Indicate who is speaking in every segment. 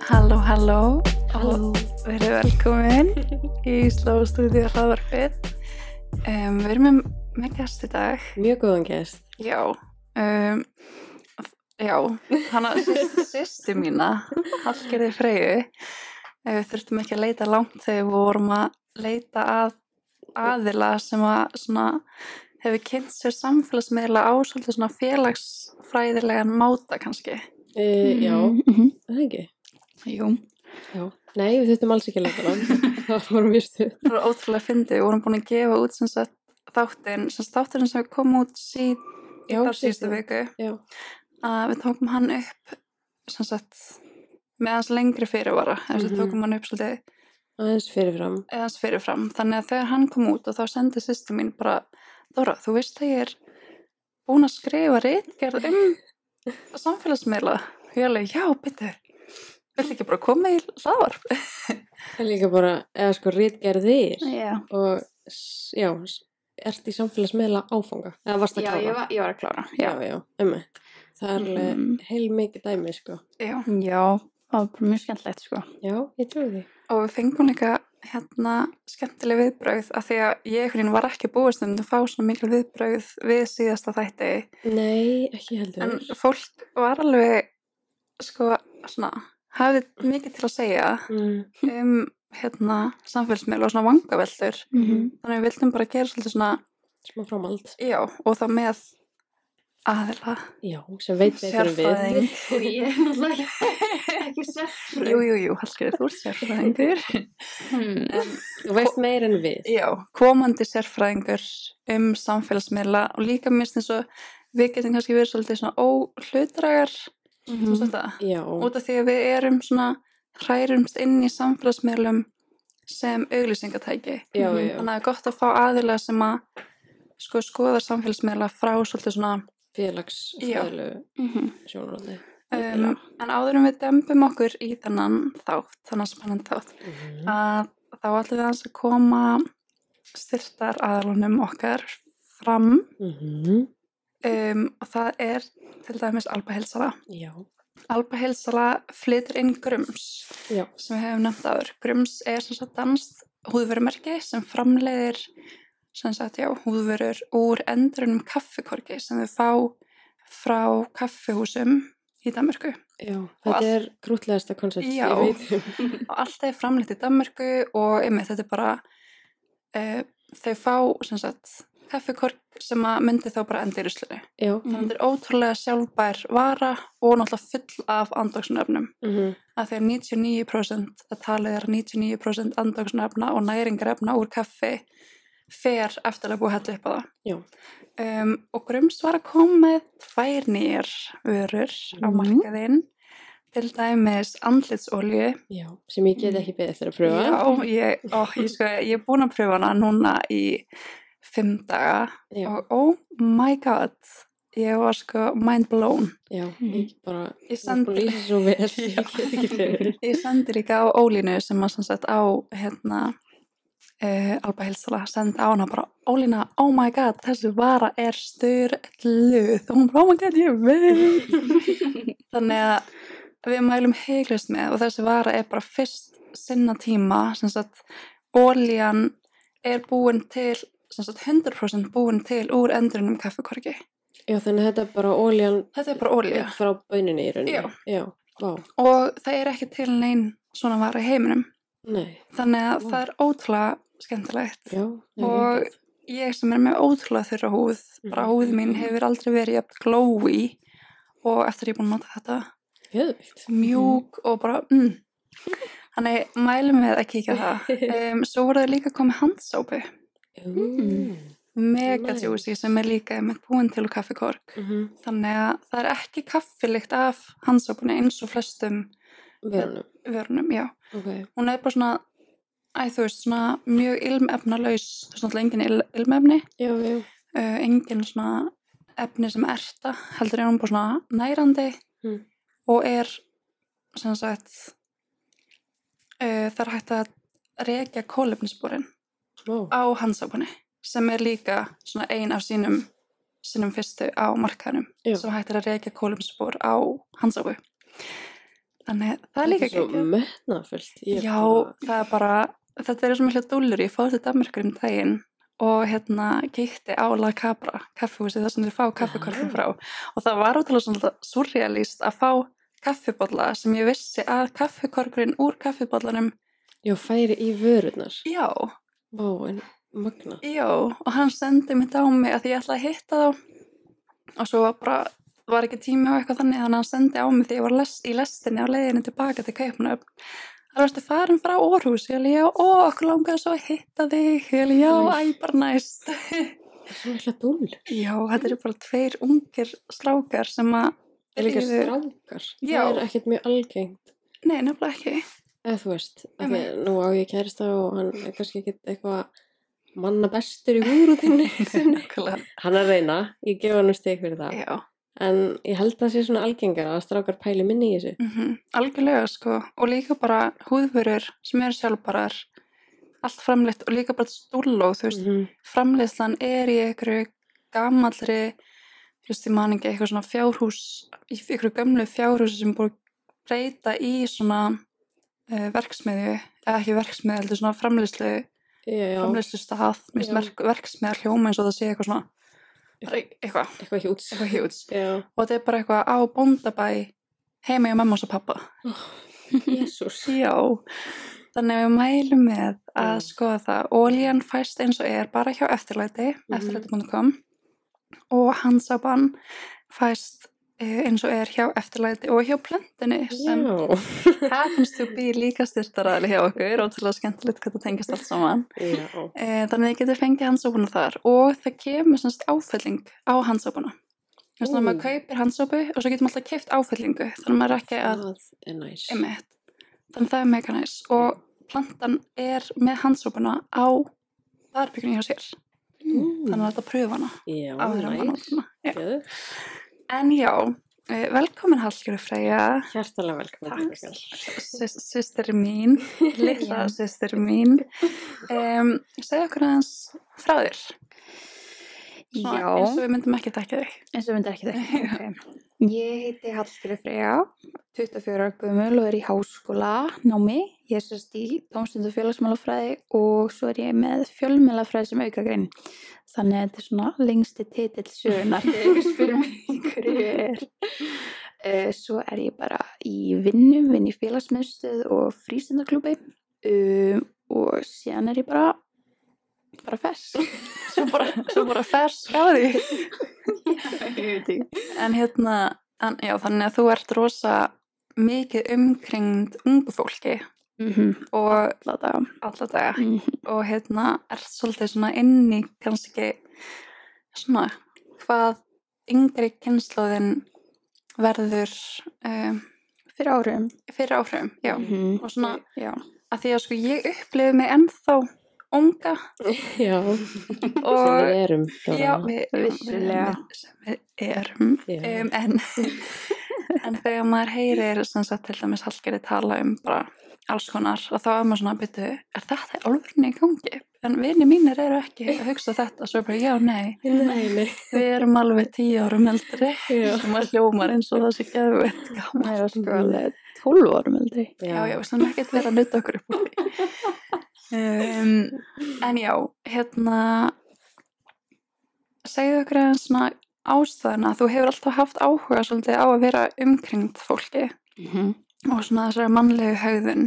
Speaker 1: Halló, halló
Speaker 2: Halló.
Speaker 1: og verið velkomin í Slóðstúdíu hlaðvarpið. Um, við erum með, með gæst í dag,
Speaker 2: Mjög góðan gest.
Speaker 1: já, um, já, hana sýsti mína, Hallgerði Freyju. Eh, Við þurftum ekki að leita langt þegar við vorum að leita að aðila sem að svona hefur kynnt sér samfélagsmiðla á svolítið svona félagsfræðilegan máta kannski.
Speaker 2: E, já,
Speaker 1: Mm.
Speaker 2: það ekki.
Speaker 1: Jú.
Speaker 2: Já. Nei, við þurftum alls ekki að leta langt. það voru mjög stuð.
Speaker 1: Það var ótrúlega fyndið, við vorum búin að gefa út sem sagt, þáttinn, sem sagt, þáttinn sem kom út síð,
Speaker 2: Já,
Speaker 1: þar
Speaker 2: síðustu.
Speaker 1: síðustu viku,
Speaker 2: Já.
Speaker 1: að við tókum hann upp sem sagt, með hans lengri fyrirvara, mm -hmm.
Speaker 2: Mhm.
Speaker 1: tókum hann upp svolítið
Speaker 2: Aðeins fyrirfram.
Speaker 1: eða hans fyrirfram, þannig að þegar hann kom út og þá sendi sýstu mín bara, Dóra, þú veist að ég er búin að skrifa rítgerð um samfélagsmiðla, og ég alveg, já, bitur, vill ekki bara koma í hlaðvarp?
Speaker 2: Það er líka bara, eða sko, rítgerðir.
Speaker 1: Já,
Speaker 2: Og, s- já, s- ert í samfélagsmiðla áfanga. Eða varst að klára.
Speaker 1: var, ég var að klára,
Speaker 2: Já, já, emmi. Það er alveg
Speaker 1: Mhm.
Speaker 2: heil mikið dæmi, sko.
Speaker 1: já.
Speaker 3: Já, það var bara mjög skemmtilegt sko.
Speaker 2: Já, ég trúi því.
Speaker 1: og við fengum líka hérna skemmtileg viðbrögð af því að ég einhvern veginn var ekki að búast um að fá svona mikil viðbrögð við síðasta þætti
Speaker 2: Nei, ekki heldur.
Speaker 1: en fólk var alveg sko svona hafið mikið til að segja
Speaker 2: mm.
Speaker 1: um hérna samfélsmiðl og svona vangaveldur
Speaker 2: Mhm.
Speaker 1: þannig að við vildum bara gera svolítið svona
Speaker 2: Smá framald.
Speaker 1: já og það með aðila
Speaker 2: Já, sem veit betur en við.
Speaker 1: sérfræðing
Speaker 3: Og ég er náttúrulega ekki, ekki sérfröð.
Speaker 1: jú jú jú, halskir þú ert sérfræðingur
Speaker 3: Hmm.
Speaker 2: Þú veist meir en við.
Speaker 1: Já, komandi sérfræðingur um samfélagsmiðla og líka minnst eins og við getum kannski verið svolítið svona óhlutrægar mm -hmm.
Speaker 2: Já.
Speaker 1: út af því að við erum svona hrærumst inn í samfélagsmiðlum sem auglýsingatæki.
Speaker 2: Já,
Speaker 3: Mhm.
Speaker 2: já.
Speaker 1: Þannig að það er gott að fá aðila sem að sko skoðar samfélagsmiðla frá svolítið svona
Speaker 2: félagsfræðlu sjónarhóndi.
Speaker 1: um,
Speaker 3: Algjörlega.
Speaker 1: en áður en við dembum okkur í þennan þátt, þannig spennandi þátt
Speaker 2: Mm.
Speaker 1: að þá ætlum við aðeins að koma styrtar aðalunum okkar fram
Speaker 2: Mhm.
Speaker 1: um, og það er til dæmis Alba Helsala.
Speaker 2: Já.
Speaker 1: Alba Helsala flytur inn Grums
Speaker 2: Já.
Speaker 1: sem við hefum nefnt aður. Grums er sem sagt danst húðverumerki sem framleiðir sem sagt, já, húðverur úr endrunum kaffikorki sem við fá frá kaffihúsum í Danmörku.
Speaker 2: Já,
Speaker 1: Og allt-
Speaker 2: þetta er krútlegasta koncept
Speaker 1: Já.
Speaker 2: ég veit um.
Speaker 1: Og allt er framleitt í Danmörku og einmitt þetta er bara uh, þau fá sem sagt kaffikork sem að myndi þá bara enda í ruslunni.
Speaker 2: Já,
Speaker 1: Þannig að þetta er ótrúlega sjálfbær vara og náttúrulega full af andóksunöfnum.
Speaker 2: mm -hmm.
Speaker 1: Að þegar 99% að talið er að 99% andóksunöfna og næringarefna úr kaffi fer eftirlega búið að hella upp á það.
Speaker 2: Já.
Speaker 1: Um, og Grums var að koma með tvær nýjar vörur á
Speaker 3: Mhm.
Speaker 1: markaðinn. Til dæmis andlitsolju.
Speaker 2: já, sem ég get ekki beðið eftir að pröfa.
Speaker 1: Mm. Já, ég, ó, ég, sko, ég er búin að pröfa hana núna í fimm daga
Speaker 2: Já,
Speaker 1: og oh my god, ég var sko mind blown.
Speaker 2: já,
Speaker 3: Mhm.
Speaker 2: ég bara,
Speaker 1: Ég
Speaker 2: þú er búin að
Speaker 1: sendi,
Speaker 2: lýsa svo vel, ég get ekki beðið.
Speaker 1: ég sendi líka á Ólínu sem að sem sagt á hérna uh, Alba Hilsala sendi á hana bara Ólína, oh my god, þessi vara er styrluð og hún bara, oh my god, ég veit þannig að við mælum heiklust með og þessi vara er bara fyrst sinna tíma sem sagt ólían er búin til sem sagt 100% búin til úr endurinnum kaffikorki.
Speaker 2: Já, þannig að þetta er bara óljan
Speaker 1: Þetta er bara ólíja.
Speaker 2: frá bönunni í rauninni.
Speaker 1: Já.
Speaker 2: Já, vá,
Speaker 1: og það er ekki til neinn svona vara í heiminum
Speaker 2: nei,
Speaker 1: þannig að
Speaker 2: Vá.
Speaker 1: það er ótrúlega skemmtilegt
Speaker 2: já. nei,
Speaker 1: Og-
Speaker 2: ég-
Speaker 1: ég sem er með ótrúlega þurra húð bara
Speaker 2: Mhm.
Speaker 1: húð mín hefur aldrei verið jafn glói og eftir ég er búin að nota þetta
Speaker 2: Geðveikt.
Speaker 1: mjúk og bara mm. þannig mælum við að kíkja á það um, svo voru það líka komið handsópu
Speaker 2: Mm.
Speaker 1: mega
Speaker 2: Nice.
Speaker 1: juicy sem er líka með búin til úr kaffikork
Speaker 2: Mhm.
Speaker 1: þannig að það er ekki kaffilikt af handsópunni eins og flestum
Speaker 2: Verunum,
Speaker 1: vörunum, já
Speaker 2: ok.
Speaker 1: hún er bara svona æ, þú veist, svona mjög ilmefnalaus það er svona engin il, ilmefni
Speaker 2: Já, já,
Speaker 1: uh, engin svona efni sem erta heldur er hún bara svona nærandi
Speaker 2: Mm.
Speaker 1: og er sem sagt uh, það er hægt að rekja kólefnisbúrin
Speaker 2: vá,
Speaker 1: á handsápunni sem er líka svona ein af sínum sínum fyrstu á markaðnum
Speaker 2: Já.
Speaker 1: sem hægt er að reykja kólumspor á handsápu þannig að það er líka
Speaker 2: Þetta svo
Speaker 1: geggjað.
Speaker 2: metnafullt. Ég
Speaker 1: Já,
Speaker 2: bara-
Speaker 1: það er bara, þetta er svona hljótt dúllur, ég fór til Danmarkur um daginn og hérna kíkti á La Cabra, kaffihúsi þar sem þau fá kaffikorfum
Speaker 2: Ah.
Speaker 1: frá og það var ótrúlega svona surrealist að fá kaffibólla sem ég vissi að kaffikorkurinn úr kaffibóllanum,
Speaker 2: Já, færi í vörurnar.
Speaker 1: já,
Speaker 2: Vá, en magna.
Speaker 1: já, og hann sendi mitt á mig að því ég ætlaði að hitta þá og svo var bara, var ekki tími á eitthvað þannig þannig að hann sendi á mig því ég var les, í lestinni á leiðinni tilbaka til Kaupmanöfn Það varstu farin frá Orhus, ég alveg, já, ó, okkur langaði svo að hitta þig, ég alveg, já,
Speaker 2: Mm.
Speaker 1: æ, bara næst.
Speaker 2: Svo mikla dúll.
Speaker 1: Já, þetta eru bara tveir ungir strákar sem að,
Speaker 2: Það er líka
Speaker 1: Lífið-
Speaker 2: strákar.
Speaker 1: Já.
Speaker 2: Það er ekkert mjög algengt.
Speaker 1: nei, nefnilega ekki.
Speaker 2: Eða þú veist, af því
Speaker 1: Einmitt.
Speaker 2: að nú á ég kærista og hann er kannski ekkert eitthvað manna bestur í húrutinni.
Speaker 1: Nefnilega,
Speaker 2: hann er að reyna, ég gef hann um steg fyrir það.
Speaker 1: já,
Speaker 2: En ég held að það sé svona algengara að strákar pæli minni í þessu.
Speaker 1: mm algjörlega, sko, og líka bara húðvörur sem eru sjálfbarar, allt framleitt og líka bara stúlló, þú veist,
Speaker 2: Mhm.
Speaker 1: framleiðslan er í einhverju gamallri þú veist, ég man ekki eitthvað svona fjárhús í einhverju gömlu fjárhúsi sem er búið að breyta í svona uh, verksmiðju eða ekki verksmiðju, heldur svona framleiðslu
Speaker 2: Já, já,
Speaker 1: framleiðslu stað,
Speaker 2: Já.
Speaker 1: minnst merk- verksmiðjar hljóma eins og það sé eitthvað svona bara eitthvað,
Speaker 2: eitthvað hjúts.
Speaker 1: eitthvað hjúts
Speaker 2: Já,
Speaker 1: og þetta er bara eitthvað á bóndabæ heima hjá mamma og pappa
Speaker 2: jésús.
Speaker 1: Já, þannig að við mælum með að
Speaker 2: Mm.
Speaker 1: skoða það. Ólían fæst eins og er bara hjá eftirlæti,
Speaker 2: Mhm.
Speaker 1: eftirlæti.com og handsaban fæst eh, eins og er hjá eftirlæti og hjá plöndinni sem
Speaker 2: Já,
Speaker 1: happens to be líka styrtaraðli hjá okkur og til að skemmtilegt hvað það tengist allt saman.
Speaker 2: já.
Speaker 1: Eh, Þannig að þið getur fengið hansópuna þar og það kemur semst áfylling á hansópuna. Þannig að
Speaker 2: Ú.
Speaker 1: maður kaupir hansópu og svo getur maður alltaf keift áfyllingu þannig að maður er ekki að
Speaker 2: Það er næs.
Speaker 1: Einmitt. Þannig að það er mega næs og plantan er með hansópuna á barbyggjunni hjá sér. Þannig að þetta pröfa hana
Speaker 2: Mm. Já,
Speaker 1: áður en maður
Speaker 2: næs.
Speaker 1: notar hana. Já.
Speaker 2: Geðu.
Speaker 1: En já, eh, velkomin Hallgjörðu Freyja,
Speaker 2: Hjartalega velkomin.
Speaker 1: Takk. sýsteri mín, litla sýsteri mín. Um, segðu okkur aðeins frá þér, Svona
Speaker 3: Já,
Speaker 1: eins og við myndum ekki þekka þig.
Speaker 3: eins og myndi ekki þetta. Ég heiti Hallgríð Freyja, 24 ára gömul og er í háskóla námi. Ég er sérst í tómstund og félagsmálafræði og svo er ég með fjölmjölafræði sem aukagrein. Þannig að þetta er svona lengsti titill sögunar þegar ég spyr mig hverju ég er. Eh, Svo er ég bara í vinnu, vinn í félagsmiðstöð og frístundaklúbi um, og síðan er ég bara, bara fersk.
Speaker 1: Svo bara, svo bara fersk á því. En hérna, en, já, þannig að þú ert rosa mikið umkringd ungu fólki
Speaker 3: Mm
Speaker 1: og
Speaker 3: Alla daga.
Speaker 1: alla daga
Speaker 3: Mm
Speaker 1: og hérna er svolítið svona inn í kannski svona hvað yngri kynnslóðin verður um,
Speaker 3: Fyrir árum.
Speaker 1: fyrir áhrifum, já
Speaker 3: Mhm.
Speaker 1: og svona
Speaker 3: Já.
Speaker 1: að því að sko ég upplifi mig ennþá unga
Speaker 2: Já, sem við
Speaker 1: og
Speaker 2: erum.
Speaker 1: já, við,
Speaker 3: Vissulega.
Speaker 1: sem við erum
Speaker 2: Já.
Speaker 1: um, en, en þegar maður heyrir sem sagt til dæmis Hallgeri tala um bara alls konar og þá er maður svona að byrja er þetta alvegni í gangi? En vini mínir eru ekki að hugsa þetta svo er bara já, nei,
Speaker 2: Nei, nei.
Speaker 1: við erum alveg tíu árum eldri
Speaker 2: Já.
Speaker 1: sem maður hljómar eins og það sé geðveitt gaman.
Speaker 3: Það er sko alveg 12 árum eldri.
Speaker 1: Já, já, við sem ekkert vera að nuta okkur upp úr því. Um, en já, hérna segðu okkur aðeins svona ástæðuna, þú hefur alltaf haft áhuga svolítið á að vera umkringd fólki
Speaker 3: Mm -hmm.
Speaker 1: og svona þessari mannlegu haugðun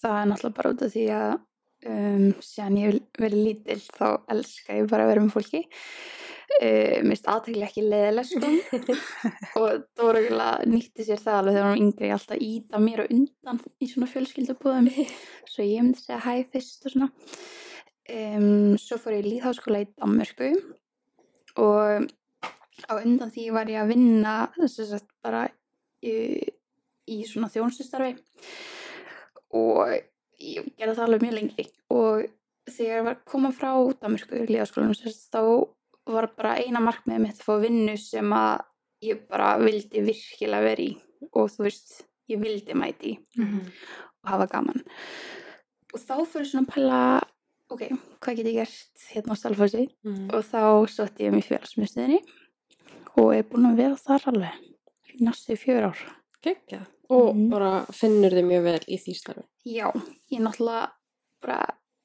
Speaker 3: Það er náttúrulega bara út af því að um, síðan ég hef verið lítill þá elska ég bara að vera með fólki. Uh, mér finnst aðtekli ekki leðileg sko og Dóra Gula nýtti sér það alveg þegar hún var yngri alltaf að íta mér og undan í svona fjölskyldubúðum svo ég myndi segja hæ fyrst og svona um, svo fór ég í líðháskóla í Danmörku og á undan því var ég að vinna þess að bara í, í svona þjónsustarfi og ég gerði það alveg mjög lengi og þegar ég var að koma frá Danmörku í líðháskólanum sérst, þá var bara eina markmið mitt að fá vinnu sem að ég bara vildi virkilega vera í og þú veist, ég vildi mæti í
Speaker 2: Mhm.
Speaker 3: og hafa gaman og þá fyrir svona að pæla ok, hvað get ég gert hérna á Stalfossi
Speaker 2: Mhm.
Speaker 3: og þá sótti ég um í félagsmyndstöðinni og er búin að vera þar alveg í næstu fjör ár
Speaker 2: Gekkja. Og
Speaker 3: Mhm.
Speaker 2: bara finnur þið mjög vel í því starfi.
Speaker 3: Já, ég náttúrulega bara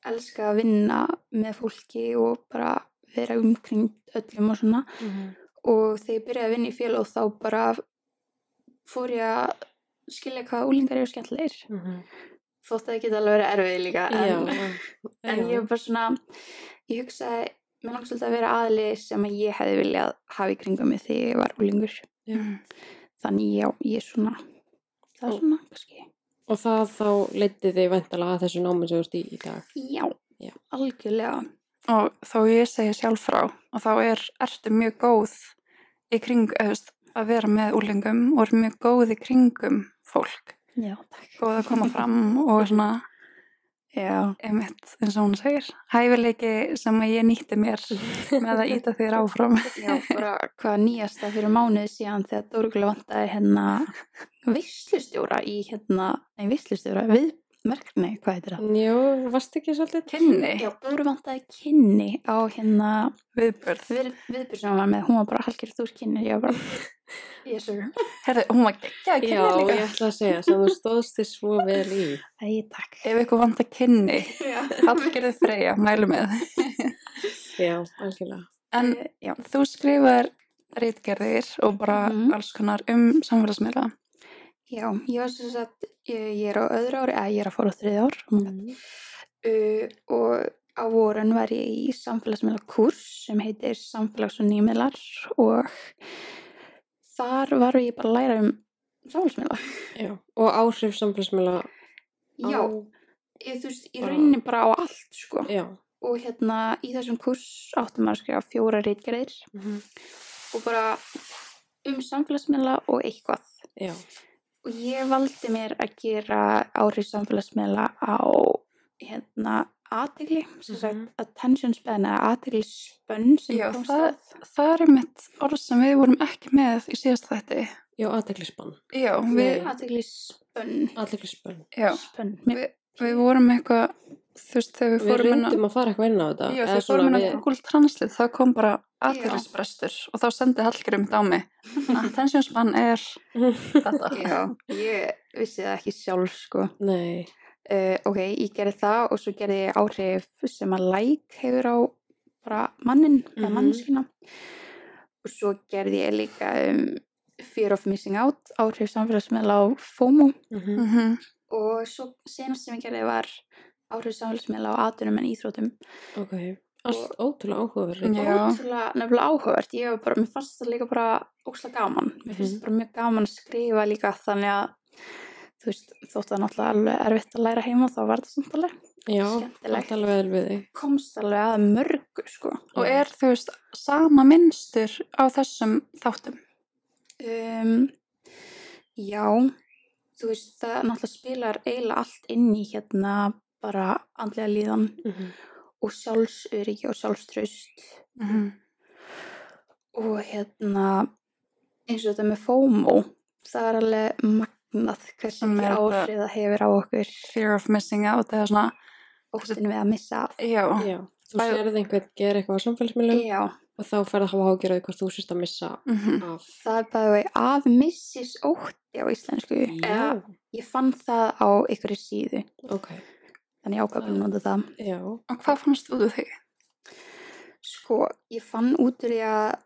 Speaker 3: elska að vinna með fólki og bara vera umkring öllum og svona
Speaker 2: Mhm,
Speaker 3: og þegar ég byrjaði að vinna í félag þá bara fór ég að skilja hvað úlingar eru skemmtilegir þótt að það geta alveg verið erfið líka en,
Speaker 2: mhm. já.
Speaker 3: en ég var bara svona ég hugsaði, mér langt svolítið að vera aðli sem að ég hefði viljað hafa í kringum mig þegar ég var úlingur
Speaker 1: Mm.
Speaker 3: þannig já, ég er svona það
Speaker 2: Og-
Speaker 3: er svona, kannski
Speaker 2: Og það þá leytið þið væntalega að þessu námi sem þú ert í í dag.
Speaker 3: já,
Speaker 2: Já.
Speaker 3: algjörlega
Speaker 1: og þó ég segi sjálf frá og þá er, ertu mjög góð í kring, auðvist, að vera með úlingum og er mjög góð í kringum fólk,
Speaker 3: já, takk
Speaker 1: góð að koma fram og svona,
Speaker 3: Sko, já,
Speaker 1: einmitt, eins og hún segir hæfileiki sem að ég nýtti mér með að íta þér áfram
Speaker 3: já, bara hvað nýjasta fyrir mánuði síðan þegar Dórgulega vantaði hérna veislustjóra í hérna, nei veislustjóra við merkni, hvað heitir það?
Speaker 2: Jó, varst ekki svolítið?
Speaker 1: kynni,
Speaker 3: Já, Dóru vantaði kynni á hérna
Speaker 1: viðbörð
Speaker 3: við, viðbyrð sem hún var með, hún var bara halkir þú kynni, ég var bara yes sir,
Speaker 1: herðu, hún var geggja að
Speaker 2: Já,
Speaker 1: kynni líka
Speaker 2: ég ætla að segja, sem þú stóðst þið svo vel í.
Speaker 3: æg takk
Speaker 1: ef ykkur vant að kynni
Speaker 3: já,
Speaker 1: Hallgerði Freyja, mælu með
Speaker 2: Já, algjörlega.
Speaker 1: en
Speaker 3: já,
Speaker 1: þú skrifar rítgerðir og bara
Speaker 3: Mhm.
Speaker 1: alls konar um samfélagsmiðla
Speaker 3: já, ég var sem sagt ég, ég er á öðru ári, eða ég er að fóra á þriði ár
Speaker 2: Mhm.
Speaker 3: uh, og á vorun var ég í samfélagsmiðla kurs sem heitir samfélags og nýmiðlar og þar var ég bara að læra um samfélagsmiðla.
Speaker 2: Já, og áhrif samfélagsmiðla. á-
Speaker 3: Já, ég, þú veist, í rauninni bara á allt sko
Speaker 2: Já.
Speaker 3: og hérna í þessum kurs áttum maður að skrifa fjóra reitgerðir og bara um samfélagsmiðla og eitthvað.
Speaker 2: Já.
Speaker 3: Og ég valdi mér að gera áhrif samfélagsmiðla á hérna aðtegli, sem sagt
Speaker 2: Mhm.
Speaker 3: attention span eða aðtegli spönn sem
Speaker 1: Já,
Speaker 3: komst
Speaker 1: það-
Speaker 3: að.
Speaker 1: það er mitt orð sem við vorum ekki með í síðast þætti
Speaker 2: Já, aðteglisbann.
Speaker 1: já,
Speaker 2: Nei.
Speaker 1: við,
Speaker 3: Aðtegli spönn.
Speaker 2: Aðteglisbann.
Speaker 1: já,
Speaker 3: Spönn. Mér,
Speaker 1: við vorum eitthvað þú veist, þegar við
Speaker 2: Við
Speaker 1: fórum inn á
Speaker 2: reyndum að fara eitthvað inn á
Speaker 1: Já,
Speaker 2: þetta. eða
Speaker 1: þegar
Speaker 2: svona
Speaker 1: fórum inn á
Speaker 2: við-
Speaker 1: Google Translate þá kom bara aðteglisbrestur og þá sendi Hallgerði mitt á mig attention span er þetta
Speaker 3: já, ég vissi það ekki sjálf sko.
Speaker 2: Nei.
Speaker 3: Uh, ok, ég gerði það og svo gerði ég áhrif sem að like hefur á bara mannin eða
Speaker 2: Mhm.
Speaker 3: mannskina. Og svo gerði ég líka um, fear of missing out, áhrif samfélagsmiðla á FOMO.
Speaker 2: Mhm.
Speaker 1: Mhm.
Speaker 3: Og svo senast sem ég gerði var áhrif samfélagsmiðla á atunum en íþrótum.
Speaker 2: Ok. Allt ótrúlega áhugaverð.
Speaker 1: Já.
Speaker 3: Ótrúlega nefnilega áhugavert. Ég var bara, mér fannst það líka bara óslega gaman. Mér finnst
Speaker 2: Mhm.
Speaker 3: bara mjög gaman að skrifa líka þannig að þú veist, þótt að náttúrulega alveg erfitt að læra heima þá var það samt alveg.
Speaker 2: Já,
Speaker 3: Skemmtilegt.
Speaker 2: allt alveg vel við þig.
Speaker 3: Komst alveg að mörgu, sko.
Speaker 1: og er þú veist sama minnstur á þessum þáttum
Speaker 3: Um, já, þú veist, það náttúrulega spilar eiginlega allt inn í hérna bara andlega líðan
Speaker 2: Mhm.
Speaker 3: og sjálfsöryggi og sjálfströst.
Speaker 2: Mhm.
Speaker 3: og hérna eins og þetta með FOMO það er alveg magnað hversu
Speaker 1: Sem er
Speaker 3: mikið
Speaker 1: þetta-
Speaker 3: áhrif það hefur á okkur
Speaker 1: fear of missing out eða svona
Speaker 3: óttinu við að missa af
Speaker 1: já,
Speaker 2: Já. Þú
Speaker 1: Bæ-
Speaker 2: sérði einhvern gera eitthvað á samfélagsmiðlum
Speaker 3: já,
Speaker 2: og þá færði að hafa ágjörðið hvort þú sérst að missa
Speaker 1: Mhm.
Speaker 2: af.
Speaker 3: það er bara vegi af missis ótti á íslensku
Speaker 2: Já.
Speaker 3: ég fann það á einhverju síðu
Speaker 2: Ok.
Speaker 3: þannig
Speaker 2: Það-
Speaker 3: ákvæmum nota það
Speaker 2: Já.
Speaker 1: og hvað fannst þú þig?
Speaker 3: sko, ég fann út úr því að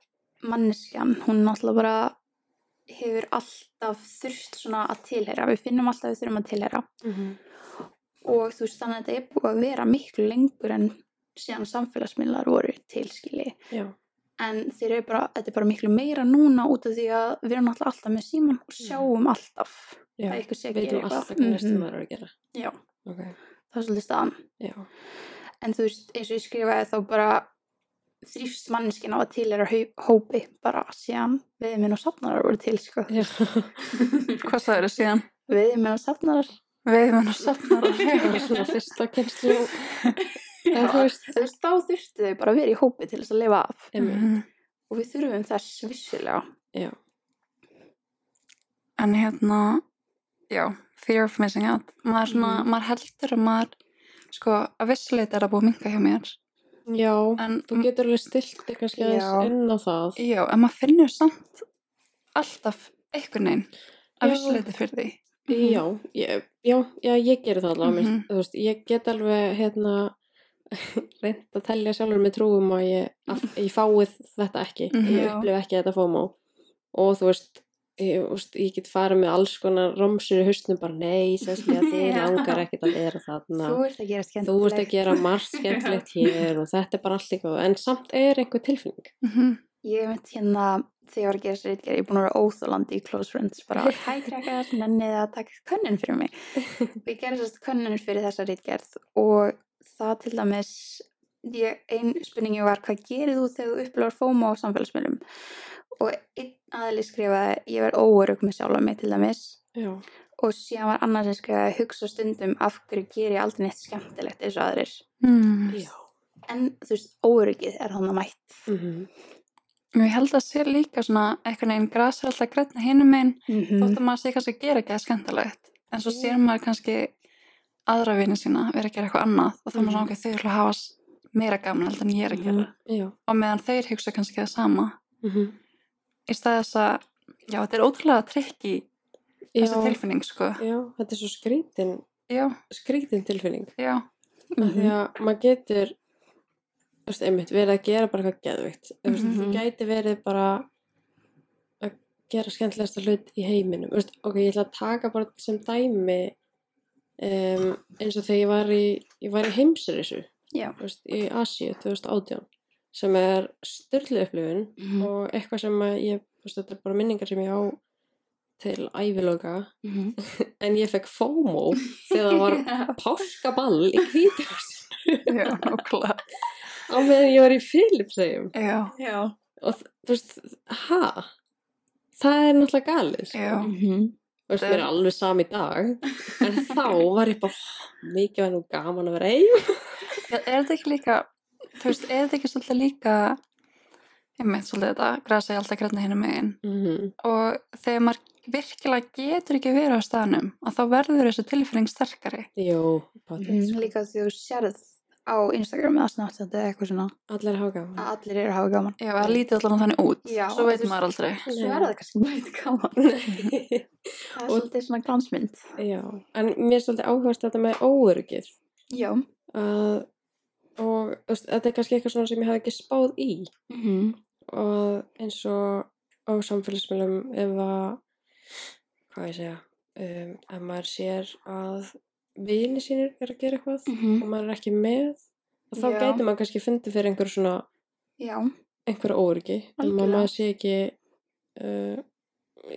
Speaker 3: manneskjan, hún náttúrulega bara hefur alltaf þurft svona að tilheyra, við finnum alltaf að við þurfum að tilheyra
Speaker 2: Mhm.
Speaker 3: og þú veist þannig að þetta er búið að vera miklu lengur en síðan samfélagsmiðlar voru tilskili
Speaker 2: Já.
Speaker 3: en þeir eru bara, þetta er bara miklu meira núna út af því að við erum alltaf alltaf með síman og sjáum alltaf
Speaker 2: Já.
Speaker 3: að eitthvað sé að gera
Speaker 2: Veitum
Speaker 3: eitthvað
Speaker 2: alltaf hvað næstum
Speaker 3: Mhm.
Speaker 2: maður er að gera.
Speaker 3: Já.
Speaker 2: Ok.
Speaker 3: það er svolítið staðan
Speaker 2: Já.
Speaker 3: en þú veist eins og ég skrifaði þá bara þrýfst manneskin á að til er að hópi bara síðan veiðminn og safnarar voru til sko.
Speaker 2: Já.
Speaker 1: hvað það eru síðan?
Speaker 3: veiðminn og safnarar
Speaker 1: veiðmenn og safnarar
Speaker 2: Það var svona fyrsta kynslu. En þú veist.
Speaker 3: þú veist þá þurftu þau bara að vera í hópi til þess að lifa af
Speaker 2: Einmitt.
Speaker 1: Mhm.
Speaker 3: og við þurfum þess vissulega
Speaker 2: Já.
Speaker 1: en hérna já, fear of missing out maður, svona,
Speaker 2: Mhm.
Speaker 1: maður heldur að maður sko, að vissuleita er að búið að minka hjá mér
Speaker 2: Já.
Speaker 1: en,
Speaker 2: Þú getur alveg stilt þig kannski aðeins
Speaker 3: Já.
Speaker 2: inn á það.
Speaker 1: já, en maður finnur samt alltaf einhvern veginn að
Speaker 2: Já.
Speaker 1: vissu leiti fyrir því.
Speaker 2: Já, ég, já, já, ég geri það allavega, mm
Speaker 1: Mhm.
Speaker 2: þú veist, ég get alveg, hérna, reynd að tellja sjálfur með trúum að ég, að ég fáið þetta ekki,
Speaker 1: Mhm.
Speaker 2: ég
Speaker 3: Já.
Speaker 2: upplif ekki þetta FOMO og þú veist, ég, þú veist, ég get farið með alls konar romsur í hausnum bara, nei, sérskilega, þið
Speaker 3: Já.
Speaker 2: langar ekkert að vera þarna,
Speaker 3: Þú ert að gera skemmtilegt.
Speaker 2: þú ert að gera margt skemmtilegt hér og þetta er bara allt eitthvað, en samt er einhver tilfinning.
Speaker 1: Mhm.
Speaker 3: Ég veit hérna, þegar ég var að gera sér eitthvað, ég er búin að vera óþólandi í Close Friends, bara hæ krakkar, nennið að taka könnun fyrir mig. Og ég gerði sérst könnun fyrir þessa rítgerð og það til dæmis, ég, ein spurningi var hvað gerir þú þegar þú upplifar fóma á samfélagsmiðlum? Og einn aðli skrifaði, ég verð óörug með sjálfa mig til dæmis.
Speaker 2: Já,
Speaker 3: Og síðan var annars sem skrifaði, hugsa stundum af hverju gerir ég aldrei neitt skemmtilegt eins og aðrir.
Speaker 1: Mm.
Speaker 2: já.
Speaker 3: En þú veist, óörugið er hann að mætt.
Speaker 2: Mm
Speaker 1: Ég held að sé líka svona einhvern veginn grasir alltaf grætna hinum einn
Speaker 3: Mm
Speaker 1: þótt að maður sé kannski að gera ekki að skemmtilegt en svo
Speaker 2: Já.
Speaker 1: sér maður kannski aðra vini sína vera að gera eitthvað annað og þá er maður svona
Speaker 2: Mhm.
Speaker 1: okkur þau eru að hafa s- meira gaman heldur en ég er að gera
Speaker 2: Já,
Speaker 1: og meðan þeir hugsa kannski það sama
Speaker 2: mm
Speaker 1: í stað þess að já, þetta er ótrúlega trikki þessi
Speaker 2: já,
Speaker 1: tilfinning sko
Speaker 2: já, þetta er svo skrítin,
Speaker 1: já,
Speaker 2: skrítin tilfinning.
Speaker 1: já,
Speaker 2: mm
Speaker 3: Mhm.
Speaker 2: því að maður getur þú veist, einmitt, verið að gera bara eitthvað geðvikt mm -hmm. þú
Speaker 3: Mhm.
Speaker 2: gæti verið bara að gera skemmtilegasta hlut í heiminum Þú veist, ok, ég ætla að taka bara sem dæmi um, eins og þegar ég var í, ég var í heimsreisu
Speaker 3: Já.
Speaker 2: þú veist, í Asíu 2018 sem er styrlu upplifun
Speaker 3: -hmm.
Speaker 2: og eitthvað sem að ég þú veist, þetta er bara minningar sem ég á til æviloka en ég fekk FOMO þegar það var páskaball í hvítur
Speaker 1: já, nákvæmlega
Speaker 2: á meðan ég var í Filipsheim
Speaker 1: já,
Speaker 3: Já.
Speaker 2: og þ- þú veist, ha það er náttúrulega galið sko.
Speaker 1: já,
Speaker 3: Mhm.
Speaker 2: þú veist, mér er alveg sami í dag en þá var ég bara mikið var nú gaman að vera eigin
Speaker 1: Já, er þetta ekki líka þú veist, er þetta ekki svolítið líka ég meint svolítið þetta grasa ég alltaf græna hérna megin
Speaker 2: mm
Speaker 1: og þegar maður virkilega getur ekki verið á staðnum að þá verður þessi tilfinning sterkari
Speaker 2: jú, potið,
Speaker 3: Mm,
Speaker 2: sko.
Speaker 3: líka því þú sérð á Instagram eða Snapchat eða eitthvað svona
Speaker 2: allir hafa
Speaker 3: að
Speaker 2: gaman
Speaker 3: allir eru að hafa gaman
Speaker 1: já, að lítið allan þannig út
Speaker 3: Já,
Speaker 1: svo veit
Speaker 3: þú-
Speaker 1: maður aldrei
Speaker 3: svo er það kannski mætt gaman það er
Speaker 2: Og-
Speaker 3: svolítið svona glansmynd
Speaker 2: já, en mér er svolítið áhverst þetta með óörugið
Speaker 3: já
Speaker 2: að og þú veist, þetta er kannski eitthvað svona sem ég hef ekki spáð í og eins og á samfélagsmiðlum ef að hvað á ég að segja um, ef maður sér að vini sínir er að gera eitthvað og maður er ekki með og þá
Speaker 3: Mhm. Já.
Speaker 2: gæti maður kannski fundið fyrir einhver svona
Speaker 3: já,
Speaker 2: einhverja óryggi en maður,
Speaker 3: Algjörlega.
Speaker 2: maður sé ekki uh,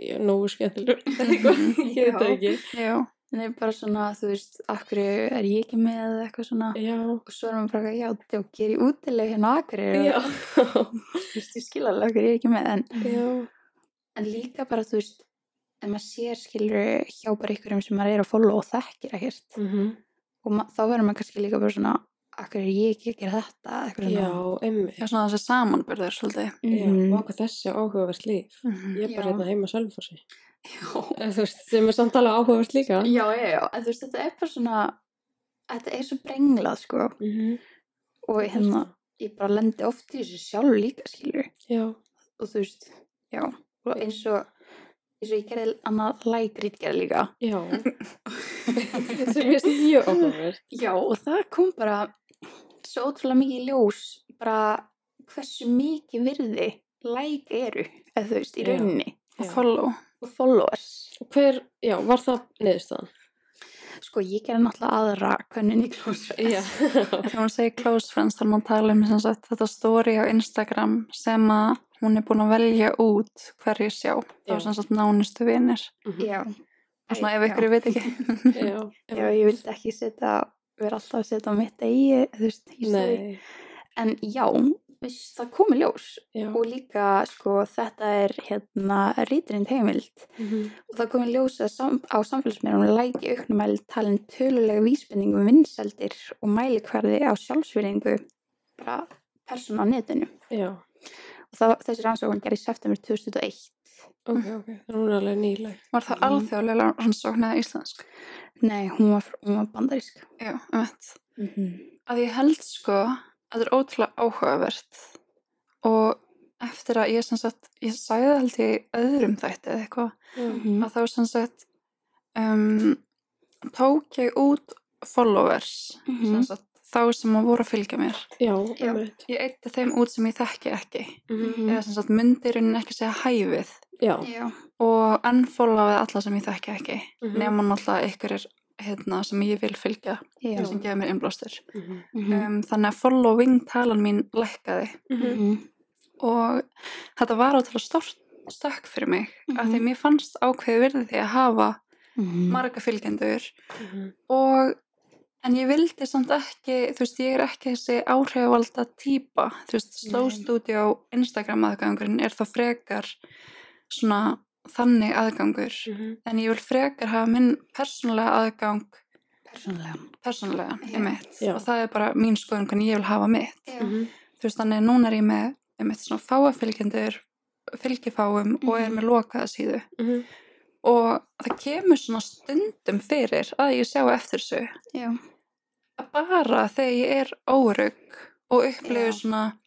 Speaker 2: já, nógu skemmtilegur eða eitthvað, ég veit það
Speaker 3: Já.
Speaker 2: ekki
Speaker 1: já,
Speaker 3: en það er bara svona þú veist akkur er ég ekki með eða eitthvað svona
Speaker 2: já,
Speaker 3: og svo erum við bara eitthvað, já, þá ger ég útileg hérna á akkur
Speaker 2: já,
Speaker 3: ég skil alveg akkur ég er ekki með en,
Speaker 2: já
Speaker 3: en líka bara þú veist en maður sér skilur hjá bara ykkurum sem maður er að follow og þekkir ekkert
Speaker 2: mhm.
Speaker 3: og ma- þá verður maður kannski líka bara svona akkur er ég ekki að gera þetta eða eitthvað
Speaker 2: já,
Speaker 3: svona
Speaker 2: emmi
Speaker 1: já svona þessi samanbyrður svolítið
Speaker 2: Já,
Speaker 3: Mhm.
Speaker 2: og okkur þessi áhugavert líf
Speaker 1: Mhm.
Speaker 2: ég er bara
Speaker 3: Já.
Speaker 2: hérna heima sjálfforsi
Speaker 3: já.
Speaker 2: þú veist, sem er samt alveg áhugavert líka
Speaker 3: já, já, já, en þú veist þetta er bara svona þetta er svo brenglað sko
Speaker 2: Mhm.
Speaker 3: og hérna, ég bara lendi oft í þessu sjálf líka skilur
Speaker 2: Já,
Speaker 3: og þú veist, já og eins og eins og ég gerði annað lægrít gerði líka
Speaker 2: já. sem ég mjög áhugavert.
Speaker 3: já, og það kom bara svo ótrúlega mikið í ljós bara hversu mikið virði læk eru, eða þú veist, í
Speaker 2: Já.
Speaker 3: rauninni
Speaker 1: og follow
Speaker 3: og followers
Speaker 2: Hver, já, var það neðustan?
Speaker 3: Sko, ég gerði náttúrulega aðra könnin í klósfæð.
Speaker 2: Já.
Speaker 1: þegar hún segir close friends þá er maður að tala um sem sagt, þetta story á Instagram sem að hún er búin að velja út hverju sjá þá
Speaker 2: Já.
Speaker 1: er sem sagt nánustu vinir
Speaker 3: Já.
Speaker 1: og svona ef ykkur veit ekki
Speaker 2: já.
Speaker 3: Já, já, ég vildi ekki setja, vera alltaf að setja á mitt eigi, þú veist, ég segi.
Speaker 2: Nei,
Speaker 3: En já, viss, það komi ljós.
Speaker 2: já.
Speaker 1: Mm.
Speaker 3: Og líka, sko, þetta er hérna ríturind heimild.
Speaker 2: Mhm.
Speaker 3: Og það komi ljós að sam, á samfélagsmyndum læki auknumæli talin tölulega vísbendingum vinsældir og mælikvarði á sjálfsverðingu bara persónu á netinu.
Speaker 2: Já,
Speaker 3: Og það, þessi rannsókn gerði í september 2001.
Speaker 2: ok, ok. Það er hún er alveg nýleg.
Speaker 1: var það alþjóðlega rannsókn eða íslensk
Speaker 3: Nei, hún var, fr- hún var bandarísk.
Speaker 1: já, um veit
Speaker 3: Mm
Speaker 1: að ég held sko að þetta er ótrúlega áhugavert og ef eftir að ég sem sagt, ég sagði það held ég í öðrum þætti eða eitthvað
Speaker 2: Já.
Speaker 3: Mhm.
Speaker 1: að þá sem sagt um, tók ég út followers sem
Speaker 3: Mhm.
Speaker 1: sagt, þá sem að voru að fylgja mér
Speaker 2: Já,
Speaker 3: Já.
Speaker 2: einmitt.
Speaker 1: ég eitti þeim út sem ég þekki ekki
Speaker 3: Mhm.
Speaker 1: eða sem sagt myndi í rauninni ekki segja hæfið
Speaker 2: Já.
Speaker 3: Já.
Speaker 1: og unfollowaði alla sem ég þekki ekki
Speaker 2: Mhm.
Speaker 1: nema náttúrulega ykkur er hérna sem ég vil fylgja
Speaker 3: Já.
Speaker 1: sem gefa mér innblástur
Speaker 2: Mhm.
Speaker 3: Mhm.
Speaker 1: um, þannig að following talan mín lækkaði
Speaker 2: Mhm.
Speaker 3: Mhm.
Speaker 1: og þetta var átrúlega stórt stökk fyrir mig af því
Speaker 3: Mhm.
Speaker 1: mér fannst ákveði virði því að hafa
Speaker 3: Mhm.
Speaker 1: marga fylgjendur
Speaker 2: Mhm.
Speaker 1: og en ég vildi samt ekki þú veist, ég er ekki þessi áhrifvalda típa, þú veist, Slow
Speaker 3: Nei.
Speaker 1: Studio Instagram aðgangurinn er þá frekar svona þannig aðgangur,
Speaker 3: Mm.
Speaker 2: Mhm.
Speaker 1: en ég vil frekar hafa minn persónulega aðgang
Speaker 3: Persónulega.
Speaker 1: persónulega,
Speaker 3: Já.
Speaker 1: ég mitt
Speaker 2: Já.
Speaker 1: og það er bara mín skoðun hvernig ég vil hafa mitt
Speaker 3: Já.
Speaker 2: Mhm.
Speaker 1: þú veist, þannig að núna er ég með ég mitt svona fáafylgjendur fylgifáum og er
Speaker 3: Mhm.
Speaker 1: með lokaða síðu
Speaker 2: Mhm.
Speaker 1: og það kemur svona stundum fyrir að ég sjá eftir þessu
Speaker 3: Já.
Speaker 1: að bara þegar ég er órygg og upplifir
Speaker 3: Já.
Speaker 1: svona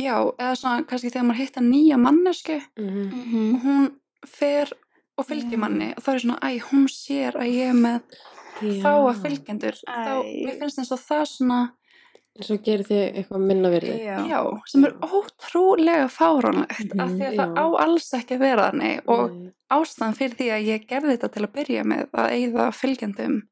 Speaker 1: já, eða svona kannski þegar maður hittar nýja mannesku
Speaker 2: Mhm.
Speaker 3: Mhm.
Speaker 1: og hún fer og fylgir
Speaker 3: Já.
Speaker 1: manni og þá er ég svona, æ, hún sér að ég er með
Speaker 2: Já.
Speaker 1: þá að fylgjendur þá,
Speaker 3: Æ.
Speaker 1: mér finnst eins og það svona
Speaker 2: En svo gerir þið eitthvað minna virði.
Speaker 3: Já.
Speaker 1: já, sem er ótrúlega fáránlegt
Speaker 3: Mhm,
Speaker 1: af því að það
Speaker 2: Mm, já. Mm.
Speaker 1: á alls ekki að vera þannig og
Speaker 2: Nei.
Speaker 1: ástæðan fyrir því að ég gerði þetta til að byrja með að eigða fylgjendum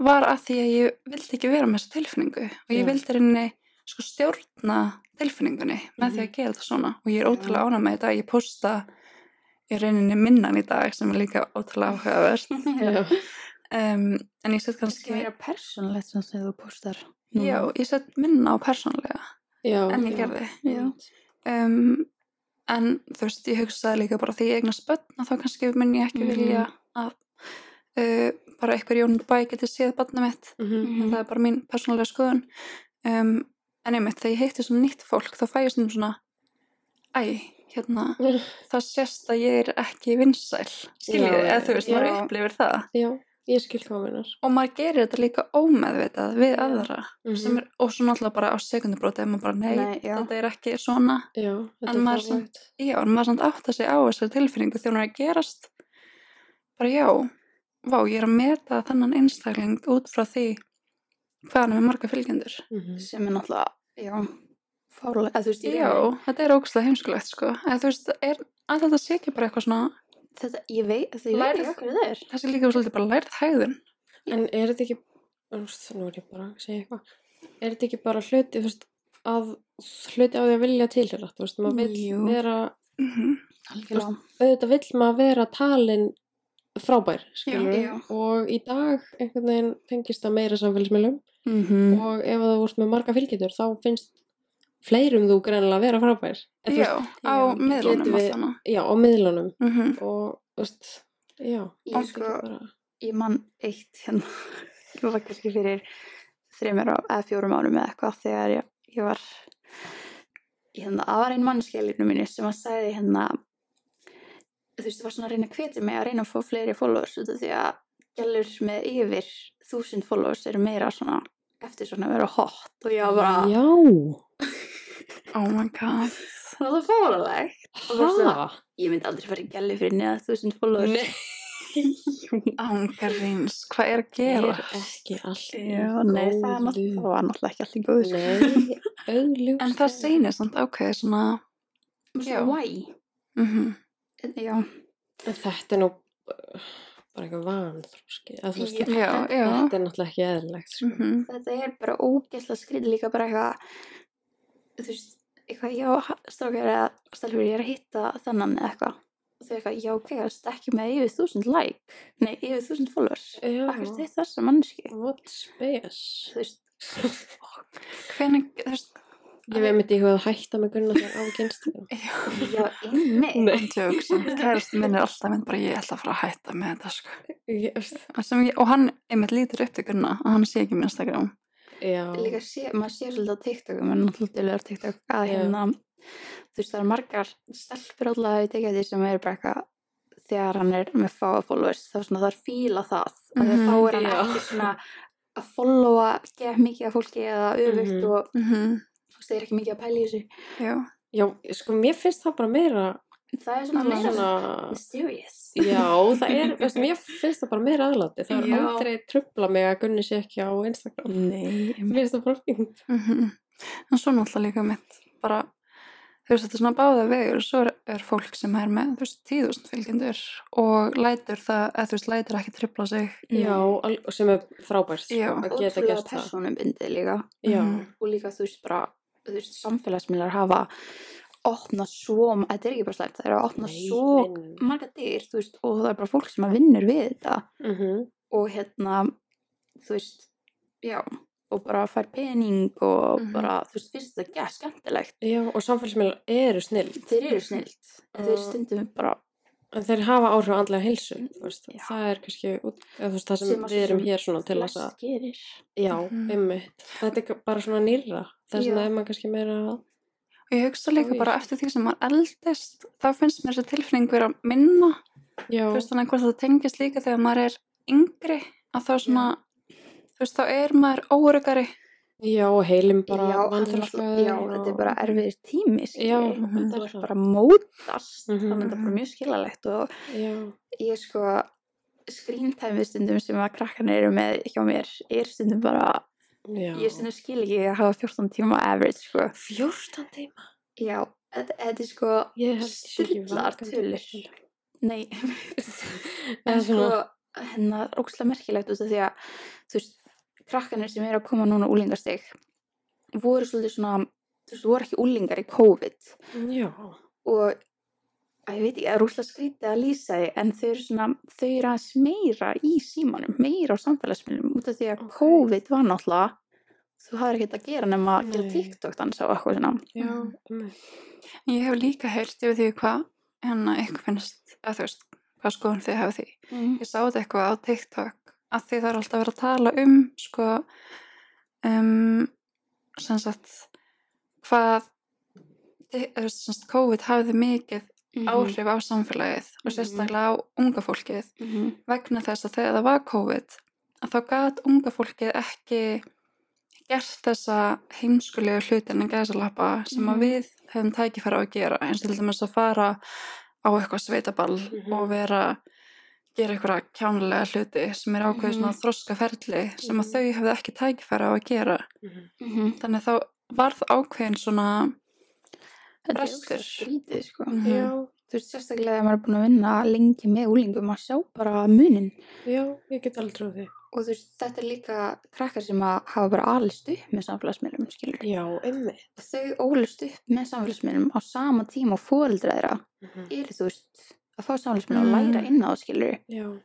Speaker 1: var að því að ég vildi ekki vera með þessa tilfinningu og ég
Speaker 2: Já.
Speaker 1: vildi reyni sko stjórna tilfinningunni með því að gera þetta svona og ég er ótrúlega ánað með þetta, ég posta ég reyninni minnan í dag sem er líka ótrúlega áhugavert
Speaker 2: Já.
Speaker 1: um, en ég set
Speaker 3: Kannski
Speaker 1: kannski
Speaker 3: meira persónulegt sem þú postar.
Speaker 1: já, ég set minna á persónlega
Speaker 2: Já.
Speaker 1: en ég
Speaker 2: já.
Speaker 1: gerði
Speaker 3: Já.
Speaker 1: um, en þú veist, ég hugsaði líka bara því ég eigna spötna þá kannski mun ég ekki
Speaker 3: Mhm.
Speaker 1: vilja að uh, bara einhver Jón Bæ geti séð barna mitt
Speaker 2: Mhm.
Speaker 3: Mm-hmm.
Speaker 1: en það er bara mín persónulega skoðun um, en einmitt, þegar ég heitti svona nýtt fólk þá fæ ég svona svona æ, hérna, það sést að ég er ekki vinsæl skiljið,
Speaker 2: Já,
Speaker 1: eða þú veist, maður
Speaker 3: já.
Speaker 1: upplifir það
Speaker 2: Já. Ég skil hvað minnar.
Speaker 1: og maður gerir þetta líka ómeðvitað við aðra sem
Speaker 2: Mhm.
Speaker 1: er, og svo náttúrulega bara á sekundubróti ef maður bara, nei,
Speaker 3: Nei, já.
Speaker 1: þetta er ekki svona
Speaker 2: Já. Þetta
Speaker 1: En
Speaker 2: er
Speaker 1: maður sem-
Speaker 2: fáránlegt.
Speaker 1: já, en maður samt átta sig á þessari tilfinningu þegar hún er að gerast bara já, vá, ég er að meta þannan einstakling út frá því hvað hann er með marga fylgjendur
Speaker 2: Mhm.
Speaker 3: Sem er náttúrulega, já, fárlega, eða þú veist, í
Speaker 1: já,
Speaker 3: rauninni.
Speaker 1: þetta er ógstlega heimskulegt sko, eða þú veist, er að þetta sé ekki bara eitthvað svona,
Speaker 3: Þetta, ég veit, þetta ég veit
Speaker 1: Lærið-
Speaker 3: ekki okkur það er.
Speaker 1: þessi líka svolítið bara lærið hæðin
Speaker 2: En er þetta ekki, þú veist, nú er ég bara að segja eitthvað, er þetta ekki bara hluti, þú veist, að hluti á því að vilja tilhera, þú veist, maður vill
Speaker 3: Jú.
Speaker 2: vera,
Speaker 1: mm -hmm.
Speaker 3: Algjörlega.
Speaker 2: auðvitað vill maður vera talin frábær, skilur
Speaker 3: já.
Speaker 2: og í dag einhvern veginn tengist það meira samfélagsmiðlum
Speaker 3: Mm -hmm.
Speaker 2: og ef þú ert með marga fylgjendur þá finnst fleirum þú greinilega að vera frábær. En, þú
Speaker 1: já,
Speaker 2: veist,
Speaker 1: á
Speaker 3: já,
Speaker 1: miðlunum
Speaker 2: getum við-
Speaker 1: alltaf
Speaker 2: já, á miðlunum
Speaker 1: mm -hmm.
Speaker 2: og, þú veist, já,
Speaker 3: Ég
Speaker 2: þetta
Speaker 3: sko,
Speaker 2: er bara,
Speaker 3: ég man eitt hérna ég var kannski fyrir þreymur eða fjórum árum eða eitthvað þegar ég, ég var hérna, það var einn mannskjælinu minni sem að sagði hérna þú veist, það var svona að reyna að hvetja mig að reyna að fá fleiri followers út af því að gælur með yfir þúsund followers eru meira svona eftir svona að vera hot og ég var bara,
Speaker 2: já,
Speaker 1: oh my god
Speaker 3: það er fáraleg og þú veist
Speaker 2: hæ,
Speaker 3: ég myndi aldrei fara í gælu fyrir neða þúsund followers
Speaker 2: nei.
Speaker 1: ángarins, hvað er að
Speaker 2: er
Speaker 1: gera
Speaker 2: ekki allt í
Speaker 3: Já, nei, það er
Speaker 2: góðu.
Speaker 3: náttúrulega- það var náttúrulega ekki allir góður
Speaker 2: Nei, auðljúst.
Speaker 1: en það sýnir samt ákveði svona Já.
Speaker 3: Svona, Why?
Speaker 1: mm
Speaker 3: Já,
Speaker 2: Þetta er nú uh, bara eitthvað vanþróski. eða þú veist,
Speaker 3: Já.
Speaker 1: já, já
Speaker 2: Þetta er náttúrulega ekki eðlilegt. Sko.
Speaker 1: mm -hmm.
Speaker 3: þetta er bara ógæsla skrið líka bara eitthvað þú veist, eitthvað já, strákar eða stelfur ég er að hitta þennan eða eitthvað og þau eitthvað, já, ok, það er ekki með yfir þúsund like nei, yfir þúsund followers akkur
Speaker 2: Já,
Speaker 3: þið þessa mannski
Speaker 2: what space?
Speaker 3: þú veist,
Speaker 1: hvernig, þú veist
Speaker 2: Ég veit myndi eitthvað að hætta með gunna þér á kynstina.
Speaker 3: já, einmitt
Speaker 2: Nei.
Speaker 1: Tjók, samt kærasti minn er alltaf minn bara ég ætla að fara að hætta með þetta sko.
Speaker 2: Yes.
Speaker 1: En sem ég, og hann einmitt lítur upp til Gunna að hann sé ekki minn Instagram
Speaker 2: Já.
Speaker 3: líka sé, maður sé svolítið á TikTok maður er náttúrulega duglegur á TikTok að
Speaker 2: Já.
Speaker 3: hérna þú veist það eru margar stelpur alltaf að ég tekja því sem er bara eitthvað þegar hann er með fáa followers þá svona þarf fíla það mm
Speaker 1: Mhm,
Speaker 3: þá er hann
Speaker 2: já.
Speaker 3: ekki svona að followa gef mikið af fólki eða öfugt
Speaker 2: Mhm.
Speaker 3: og
Speaker 1: mm -hmm.
Speaker 3: þú veist það er ekki mikið að pæla í þessu
Speaker 1: Já,
Speaker 2: Já, sko, mér finnst það bara meira
Speaker 3: það er svona meira
Speaker 2: svona,
Speaker 3: mysterious
Speaker 2: já, það er, veist, mér finnst það bara meira aðláti. Það
Speaker 3: Já.
Speaker 2: er aldrei trubla mig að Gunni sé ekki á Instagram.
Speaker 1: Nei,
Speaker 2: Mér finnst það bara fínt.
Speaker 1: Mhm. En svo náttúrulega líka mitt bara, þú veist, þetta er svona báða vegur svo er, er fólk sem er með, þú veist, tíðust fylgjendur og lætur það, eða þú veist, lætur ekki tripla sig
Speaker 3: Mm.
Speaker 2: Já, al- og sem er frábært, sko,
Speaker 1: Já.
Speaker 2: að geta
Speaker 3: ótrúlega
Speaker 2: gert það.
Speaker 3: personubindið líka
Speaker 2: Já,
Speaker 1: Mhm.
Speaker 3: og líka þú veist bara þú veist, samfélagsmiðlar hafa opnað svo, þetta er ekki bara slæmt það er að opna
Speaker 2: Nei,
Speaker 3: svo
Speaker 2: nei, nei.
Speaker 3: marga dyr þú veist, og það er bara fólk sem að vinnur við þetta
Speaker 2: Mhm.
Speaker 3: og hérna þú veist, já og bara fær pening og
Speaker 1: Mhm.
Speaker 3: bara þú veist, finnst þetta gæð skemmtilegt
Speaker 2: Já, og samfélagsmiðlar eru snill.
Speaker 3: þeir eru snilt,
Speaker 2: Og-
Speaker 3: þeir stundum bara
Speaker 2: En þeir hafa áhrif á andlega heilsu, þú veist,
Speaker 3: Já.
Speaker 2: það er kannski, út- eða þú veist, það sem,
Speaker 3: Sem að
Speaker 2: við erum
Speaker 3: sem
Speaker 2: hér svona til þess
Speaker 3: flest
Speaker 2: að,
Speaker 3: gerir
Speaker 2: já,
Speaker 1: Mhm.
Speaker 2: einmitt, þetta er ka- bara svona nýra, þess
Speaker 3: Já.
Speaker 2: vegna er maður kannski meira,
Speaker 1: og ég hugsa líka
Speaker 2: Oj.
Speaker 1: bara eftir því sem maður eldist þá finnst mér þessi tilfinning vera minna
Speaker 2: já,
Speaker 1: þú veist, þannig að hvort það tengist líka þegar maður er yngri að þá svona þú veist, þá er maður óryggari
Speaker 2: já, og heilin
Speaker 3: já,
Speaker 2: bara
Speaker 3: hann náttúrulega-
Speaker 2: vanþröskaður.
Speaker 3: já, þetta er bara erfiðir tími
Speaker 2: Já,
Speaker 3: skilurðu.
Speaker 1: Mhm.
Speaker 2: þetta
Speaker 3: þú
Speaker 2: er
Speaker 3: ert
Speaker 2: það,
Speaker 3: bara að mótast
Speaker 2: Mhm.
Speaker 3: það mynda bara mjög skilalegt og
Speaker 2: já,
Speaker 3: ég sko skrýntæmi stundum sem að krakkan eru með hjá mér, ég er stundum bara
Speaker 2: já.
Speaker 3: ég stundum skil ekki að hafa 14 tíma average sko,
Speaker 2: 14 tíma,
Speaker 3: já, þetta þetta er sko
Speaker 2: ég held ég sé ekki
Speaker 3: Sturlaðar
Speaker 2: vakandi.
Speaker 3: tölur. nei,
Speaker 2: Eða
Speaker 3: en sko
Speaker 2: svona,
Speaker 3: hennar ókslega merkilegt út af því að þú veist, krakkanir sem eru að koma núna úlingastig voru svolítið svona þú veist, voru ekki úlingar í COVID
Speaker 2: já,
Speaker 3: og að ég veit ekki, það er rúslega skrítið að lýsa því en þau eru svona, þau eru aðeins meira í símanum, meira á samfélagsmiðlum út af því að
Speaker 2: Ok.
Speaker 3: COVID var náttúrulega þú hafðir ekki að gera nema að gera
Speaker 2: Nei.
Speaker 3: TikTok dans á eitthvað svona
Speaker 2: já,
Speaker 1: Mhm.
Speaker 2: einmitt,
Speaker 1: ég hef líka heyrt yfir því hvað hérna ykkur finnst, að þú veist hvað skoðum þið hafa því
Speaker 3: mm.
Speaker 2: Mhm.
Speaker 1: ég sá þetta eitthvað á TikTok að því það er alltaf verið að tala um sko um, sem sagt hvað þi- eða sem sagt, COVID hafði mikið áhrif á samfélagið og
Speaker 3: Mhm.
Speaker 1: sérstaklega á unga fólkið
Speaker 2: Mhm.
Speaker 3: mm.
Speaker 1: vegna þess að þegar það var COVID að þá gat unga fólkið ekki gert þessa heimskulegu hluti en að gæðsalappa sem
Speaker 3: Mhm.
Speaker 1: að við höfum tækifæra á að gera eins og til dæmis að fara á eitthvað sveitaball
Speaker 2: Mhm.
Speaker 1: og vera gera einhverja kjánlega hluti sem er ákveðið svona þroska ferli sem að
Speaker 2: Mhm.
Speaker 1: þau hefðu ekki tækifæra á að gera
Speaker 2: mhm.
Speaker 3: Mm.
Speaker 1: þannig þá var það ákveðin svona
Speaker 3: þetta er
Speaker 1: Brestur.
Speaker 3: ógeðslega skrítið sko
Speaker 1: Mhm.
Speaker 2: já,
Speaker 3: þú veist sérstaklega ef maður er búin að vinna lengi með úlingum að sjá bara munin
Speaker 2: já, ég get aldrei á því,
Speaker 3: og þú veist, þetta er líka krakkar sem að hafa bara alist upp með samfélagsmiðlum skilur
Speaker 2: já, einmitt,
Speaker 3: þau ólust upp með samfélagsmiðlum á sama tíma og fóreldra þeirra
Speaker 2: Mhm.
Speaker 3: eru þú veist að fá samfélagsmiðlum og
Speaker 1: Mm.
Speaker 3: læra inn á það skilur
Speaker 2: já,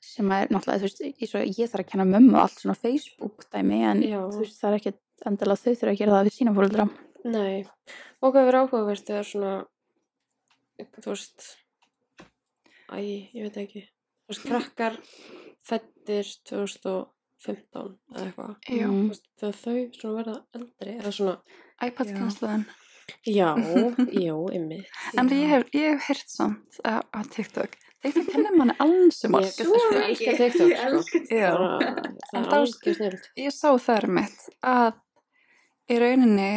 Speaker 3: sem að er náttúrulega þú veist ég, svo, ég þarf að kenna mömmu allt svona Facebook dæmi en
Speaker 2: Já.
Speaker 3: þú veist það er ekkert endilega þau þurfa að gera það við sína fóreldra
Speaker 2: Nei, og hvað verður áhugavert eða svona, þú veist, æ, ég veit ekki, þú veist, krakkar fættir 2015 eða eitthvað,
Speaker 1: já,
Speaker 3: Mm.
Speaker 2: þú veist, þegar þau svona verða eldri eða svona,
Speaker 1: iPad kannsluðin
Speaker 2: já, já, ymmi.
Speaker 1: en ég hef, ég hef heyrt samt á, á TikTok TikTok kennir manni alls um alls
Speaker 2: Ég sko, elska TikTok,
Speaker 3: Ég elska
Speaker 2: sko. Bara,
Speaker 1: En
Speaker 2: það er
Speaker 1: þá-
Speaker 2: alveg snilt.
Speaker 1: ég sá þar mitt að í rauninni,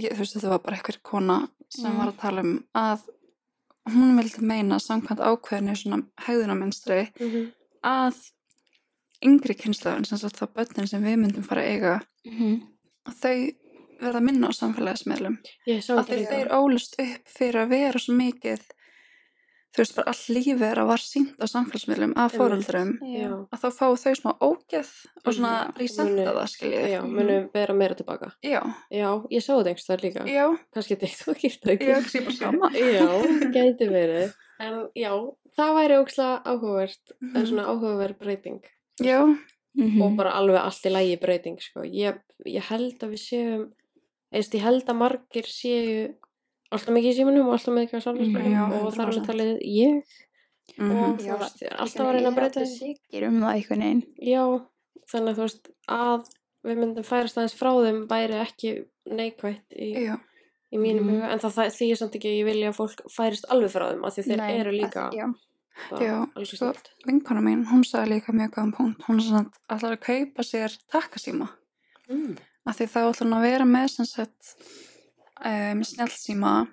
Speaker 1: ég, þú veist þetta var bara einhver kona sem
Speaker 3: Mm.
Speaker 1: var að tala um að hún vildi meina samkvæmt ákveðinu svona hegðunarmynstri að yngri kynnslöfun sem sagt þá börnin sem við myndum fara að eiga
Speaker 3: Mhm.
Speaker 1: að þau verða minna á samfélagsmiðlum
Speaker 2: Ég sá
Speaker 1: að
Speaker 2: ekki
Speaker 1: þeir,
Speaker 3: líka.
Speaker 1: þeir ólust upp fyrir að vera svo mikið þú veist bara all lífið er að var sínt á samfélagsmiðlum af
Speaker 2: Einmitt.
Speaker 1: fóreldrum
Speaker 2: Já,
Speaker 1: að þá fá þau smá ógeð og svona
Speaker 2: Mhm.
Speaker 1: resenta
Speaker 2: Munu-
Speaker 1: það skiljiði
Speaker 2: já, munum vera meira tilbaka.
Speaker 1: já,
Speaker 2: Mhm. Já, ég sá þetta einhvers þar líka.
Speaker 1: já,
Speaker 2: Kanski TikTok, ég veit það ekki.
Speaker 1: já, ég bara sama
Speaker 2: Já, gæti verið. En já, það væri ókslega áhugavert,
Speaker 1: Mhm.
Speaker 2: en svona áhugaverð breyting.
Speaker 1: já,
Speaker 3: Mhm.
Speaker 2: Og bara alveg allt í lægi breyting, sko. Ég, ég held að við séum, eist, ég held að margir séu alltaf mikið í símanum og alltaf með eitthvað samfélagsmiðlum
Speaker 1: Já,
Speaker 2: og þar með
Speaker 1: 100%.
Speaker 2: talið ég og
Speaker 1: Mhm.
Speaker 2: þú
Speaker 3: Já,
Speaker 2: veist,
Speaker 3: ég
Speaker 2: alltaf að reyna að breyta
Speaker 3: þessu
Speaker 2: þessi.
Speaker 3: sikir um það einhvern veginn
Speaker 2: Já, þannig að þú veist, að við myndum færast aðeins frá þeim væri ekki neikvætt í,
Speaker 1: já,
Speaker 2: í mínum
Speaker 3: Mhm.
Speaker 2: huga, en það, það því ég samt ekki að ég vilja að fólk færist alveg frá þeim, af því þeir
Speaker 3: Nei,
Speaker 2: eru
Speaker 3: að-
Speaker 2: líka
Speaker 3: já,
Speaker 2: bara
Speaker 1: Já,
Speaker 2: alveg
Speaker 1: sko-
Speaker 2: snilt.
Speaker 1: vinkona mín, hún sagði líka mjög góðan punkt, hún sagði að ætlar að kaupa sér takkasíma,
Speaker 2: Mm.
Speaker 1: af því þá ætlar hún að vera með sem sagt um, snjálfsíma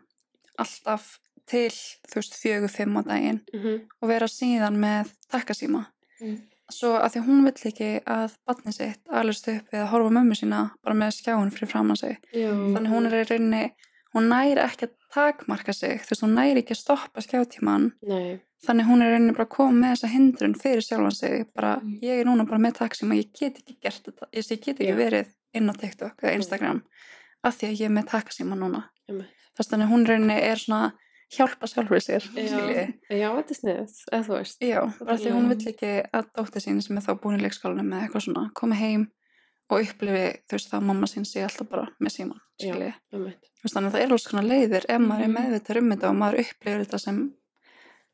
Speaker 1: alltaf til þú veist fjögur fimm á daginn
Speaker 2: Mhm.
Speaker 1: og vera síðan með takkasíma
Speaker 3: Mm.
Speaker 1: svo að því hún vill ekki að batni sitt alveg upp við að horfa á mömmu sína bara með skjáun fyrir framann sig
Speaker 2: Já.
Speaker 1: þannig hún er í rauninni hún næri ekki að takmarka sig þú veist hún næri ekki að stoppa skjátíman
Speaker 2: Nei.
Speaker 1: þannig hún er í rauninni bara að koma með þessa hindrun fyrir sjálfan sig bara
Speaker 3: Mm.
Speaker 1: ég er núna bara með takkasíma ég get ekki gert þetta ég, ég get ekki
Speaker 2: Já. Mm.
Speaker 1: verið inn á TikTok eða Instagram af því að ég er með takkasíma núna
Speaker 2: Einmitt.
Speaker 1: Þess vegna hún í rauninni er svona hjálpa sjálfur sér
Speaker 2: Já.
Speaker 1: skiljiði.
Speaker 2: Já, þetta er sniðið, eða þú veist.
Speaker 1: Já, bara því hún
Speaker 2: Já.
Speaker 1: vill ekki að dóttir sín sem er þá búin í leikskólanum eða eitthvað svona komi heim og upplifi þú veist það að mamma sín sé alltaf bara með síman
Speaker 2: Já.
Speaker 1: skilji.
Speaker 2: Einmitt.
Speaker 1: Þú veist þannig að það er alls konar leiðir ef maður er
Speaker 3: Mhm.
Speaker 1: meðvitað um þetta og maður upplifir þetta sem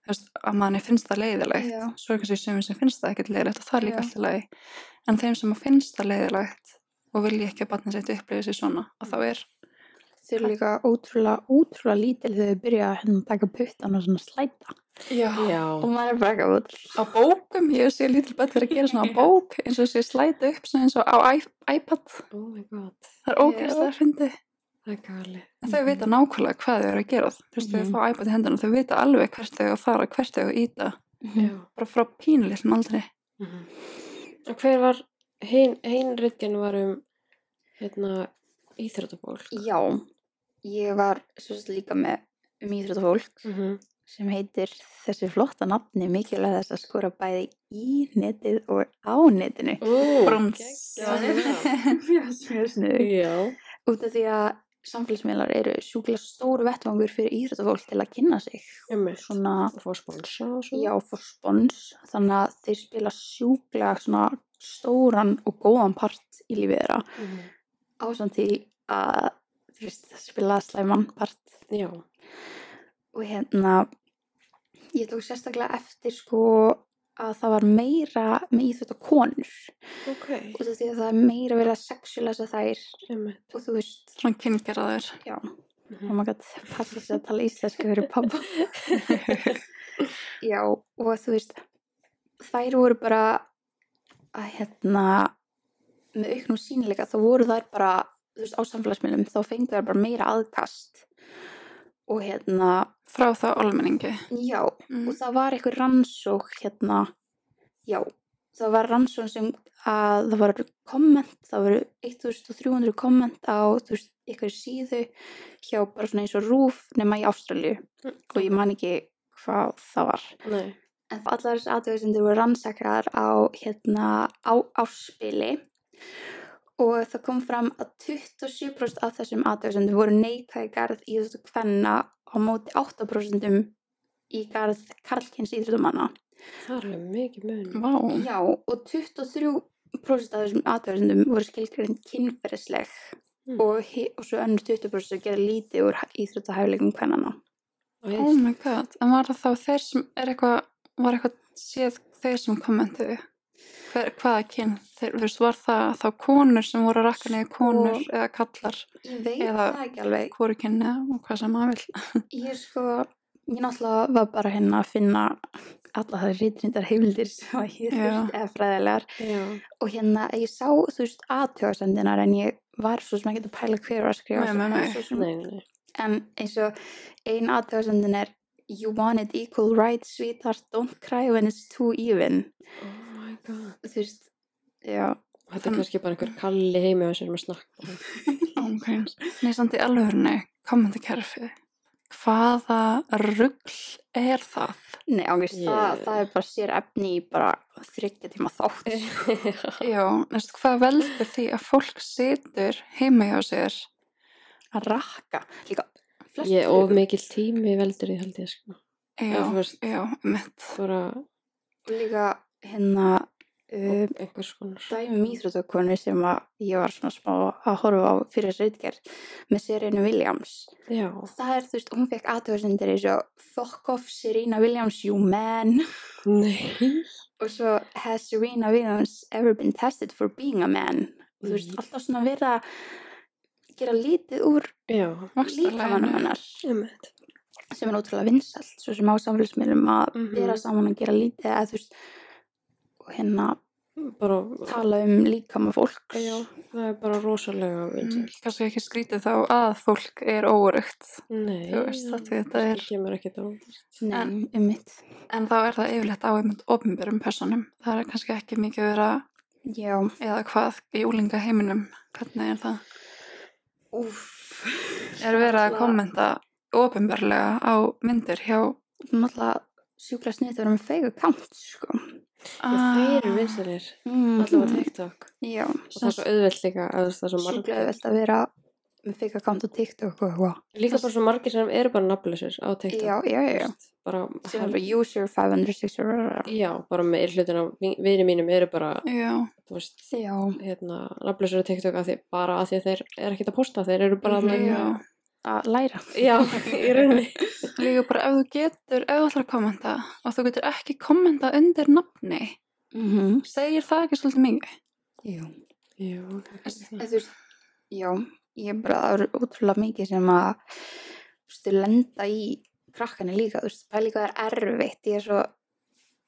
Speaker 1: þú veist að manni finnst það leiðilegt
Speaker 3: Já.
Speaker 1: svo er kannski sumir sem finnst það ekkert leiðilegt og það er líka
Speaker 3: Já.
Speaker 1: alltaf leiði en þeim sem að finnst það leiðilegt og vilja ekki að batna sér upplifið sér svona að þá er
Speaker 3: Þau eru líka ótrúlega, ótrúlega lítil þegar þau byrja að hérna taka puttan og svona slæta.
Speaker 1: Já.
Speaker 3: Og
Speaker 2: Já.
Speaker 3: maður er bara ekki að
Speaker 1: á bókum, ég sé lítil bett verið að gera svona á bók eins og sé slæta upp svona eins og á i- iPad,
Speaker 2: Oh my god,
Speaker 1: það er ógeðslega að fyndi
Speaker 2: það er galið.
Speaker 1: en þau vita nákvæmlega hvað þau eru að gera þú veist,
Speaker 3: Mhm.
Speaker 1: þau fá iPad í hendana, þau vita alveg hvert þau eru að fara, hvert þau eru að íta
Speaker 2: Já. Mhm.
Speaker 1: bara frá pínlítum aldrei
Speaker 2: Og hver var, hin, hin rytgen var um, hérna, íþróttabólk.
Speaker 3: Já, ég var svo sem líka með um íþróttafólk
Speaker 2: Mm -hmm.
Speaker 3: sem heitir þessu flotta nafni mikilvæg þess að skora bæði í netið og á netinu.
Speaker 2: Ú,
Speaker 1: Brúms.
Speaker 2: geggjað.
Speaker 3: Mjög smjörsnið.
Speaker 2: Já.
Speaker 3: Út af því að samfélagsmiðlar eru sjúklega stór vettvangur fyrir íþróttafólk til að kynna sig.
Speaker 2: Einmitt.
Speaker 3: Svona,
Speaker 2: Og fór sponsa og svona.
Speaker 3: já, for spons. Þannig að þeir spila sjúklega svona stóran og góðan part í lífið þeirra.
Speaker 2: Mhm.
Speaker 3: Ásamt því að, þú veist, spila slæman part
Speaker 2: Já.
Speaker 3: og hérna ég tók sérstaklega eftir sko að það var meira með íþjótt konur
Speaker 2: Ok.
Speaker 3: og því að það er meira verið að sexualisa þær
Speaker 2: Einmitt.
Speaker 3: og þú veist,
Speaker 1: svona kynngjara þau
Speaker 3: já
Speaker 2: Mhm.
Speaker 3: og maður gætt passa sig að tala íslensku fyrir pappa já, og þú veist þær voru bara að hérna með auknum sínilega þá voru þær bara þú veist, á samfélagsmiðlum þá fengu þær bara meira aðkast og hérna
Speaker 1: frá þá almenningi
Speaker 3: já,
Speaker 1: mm.
Speaker 3: og það var eitthvað rannsók hérna, já, það var rannsók sem að það var komment, það voru 1300 komment á, þú veist, eitthvað síðu hjá bara svona eins og rúf nema í Ástralju og ég man ekki hvað það var.
Speaker 2: Nei.
Speaker 3: En allar þessar aðtöðsendur voru rannsakaðar á, hérna, á áspili og það kom fram að 27% af þessum aðtöðsendur voru neikvæði garð í þessu kvenna á móti 8% í garð karlkins íþrótumanna.
Speaker 2: Það er alveg mikið mun.
Speaker 1: Vá,
Speaker 3: Já, og 23% af þessum aðtöðsendum voru skilgrind kynferðisleg
Speaker 2: Mm.
Speaker 3: og, hi- og svo önnur 20% gera lítið úr íþróttahæfileikum kvennana.
Speaker 2: Og
Speaker 1: oh my god en var það þá þeir sem er eitthvað var eitthvað séð þeir sem kommentuðu Hver, hvaða kyn, þeir, þú veist, var það þá konur sem voru að rakka niður konur eða kallar
Speaker 3: Sko, Ég veit
Speaker 1: Eða-
Speaker 3: það ekki alveg.
Speaker 1: hvori kynni og hvað sem maður vil
Speaker 3: Ég sko, ég náttúrulega var bara hérna að finna alla það rítryndar heimildir sem að ég
Speaker 1: Já.
Speaker 3: þurft eða fræðilegar
Speaker 2: Já.
Speaker 3: og hérna ég sá þú veist aðtjóðsendinar en ég var svo sem ekki að pæla hver var að skrifa
Speaker 1: Nei, nei,
Speaker 3: svo sem-
Speaker 1: nei.
Speaker 3: svo sem-
Speaker 2: Nei, nei.
Speaker 3: en eins og ein aðtjóðsendin er You wanted equal rights, sweetheart, don't cry when it's too even
Speaker 2: Oh my god.
Speaker 3: þú veist, já
Speaker 2: Þetta er kannski bara einhver kalli heimi á sér um með snakk.
Speaker 1: Ok, nei, samt í alvörunni, kommentarkerfið, hvaða rugl er það?
Speaker 3: Nei, ángist, það,
Speaker 2: Ég-
Speaker 3: það er bara sér efni í bara þryggja tíma þátt
Speaker 1: Eh. Já, næst, hvað veldur því að fólk situr heima hjá sér?
Speaker 3: að rakka líka flest
Speaker 2: Ég of mikil tími veldur því held ég sko.
Speaker 1: Já,
Speaker 2: Já, þú veist.
Speaker 1: já, mitt.
Speaker 2: Bara
Speaker 3: og líka hérna um,
Speaker 2: einhvers konar.
Speaker 3: dæmum íþróttakonu um sem að ég var svona smá að horfa á fyrir reitgerð með Serena Williams
Speaker 2: Já.
Speaker 3: og það er þú veist, hún fekk aðtöðsendir eins og fuck off Serena Williams, you man
Speaker 2: Nei.
Speaker 3: og svo has Serena Williams ever been tested for being a man og þú veist,
Speaker 2: Mhm.
Speaker 3: alltaf svona verið að gera lítið úr
Speaker 2: Já.
Speaker 1: Vaxtarlæginu.
Speaker 3: líkamanum hennar
Speaker 2: Einmitt.
Speaker 3: sem er ótrúlega vinsalt svo sem á samfélagsmiðlum að
Speaker 2: Mhm.
Speaker 3: bera saman að gera lítið eða þú veist og hérna
Speaker 2: bara,
Speaker 3: tala um líkama fólks
Speaker 2: já, það er bara rosalega vinsælt.
Speaker 1: Mm, kannski ekki skrítið þá að fólk er óurugt
Speaker 2: Nei,
Speaker 1: Mm. Þú veist, þetta- þetta
Speaker 2: það
Speaker 1: er-
Speaker 2: kemur ekkert á óvart.
Speaker 3: Nei,
Speaker 1: En-
Speaker 3: um mitt
Speaker 1: en þá er það yfirleitt á einmitt ofnbjörnum personum það er kannski ekki mikið að vera
Speaker 3: Já,
Speaker 1: eða hvað í úlinga heiminum hvernig er það?
Speaker 3: úff
Speaker 1: Er verið að
Speaker 3: Náttúrulega-
Speaker 1: kommenta ofinbarlega á myndir hjá
Speaker 3: Náttúrulega sjúkla snið þau eru með feigu kant sko
Speaker 2: Ah. Þeir eru vinsælir,
Speaker 3: mm.
Speaker 2: allavega TikTok.
Speaker 3: Já,
Speaker 2: Og það er svo auðvelt líka, að þú veist, það er svo margir.
Speaker 3: sjúkla veld að vera með feigu kant og TikTok og eitthvað
Speaker 2: Líka bara svo margir sem eru bara nafnlausir á TikTok.
Speaker 3: Já, já, já, já
Speaker 2: Bara,
Speaker 3: sem er bara user 560
Speaker 2: já, bara með hlutin af vini mínum eru bara,
Speaker 1: Já,
Speaker 2: þú veist,
Speaker 3: Já,
Speaker 2: hérna, nafnlausir á TikTok að því, bara að því að þeir eru ekkert að posta, þeir eru bara
Speaker 3: Mhm.
Speaker 2: að
Speaker 1: já.
Speaker 3: að læra
Speaker 2: Já, í rauninni.
Speaker 1: Líka bara ef þú getur, ef þú ætlar að kommenta og þú getur ekki kommenta undir nafni,
Speaker 3: mm -hmm.
Speaker 1: segir það ekki svolítið mikið?
Speaker 3: Jú
Speaker 2: Já,
Speaker 3: En þú veist, já, ég er bara, það eru ótrúlega mikið sem að, þú veist, þau lenda í krakkana líka, þú veist, pæli hvað það er erfitt, ég er svo,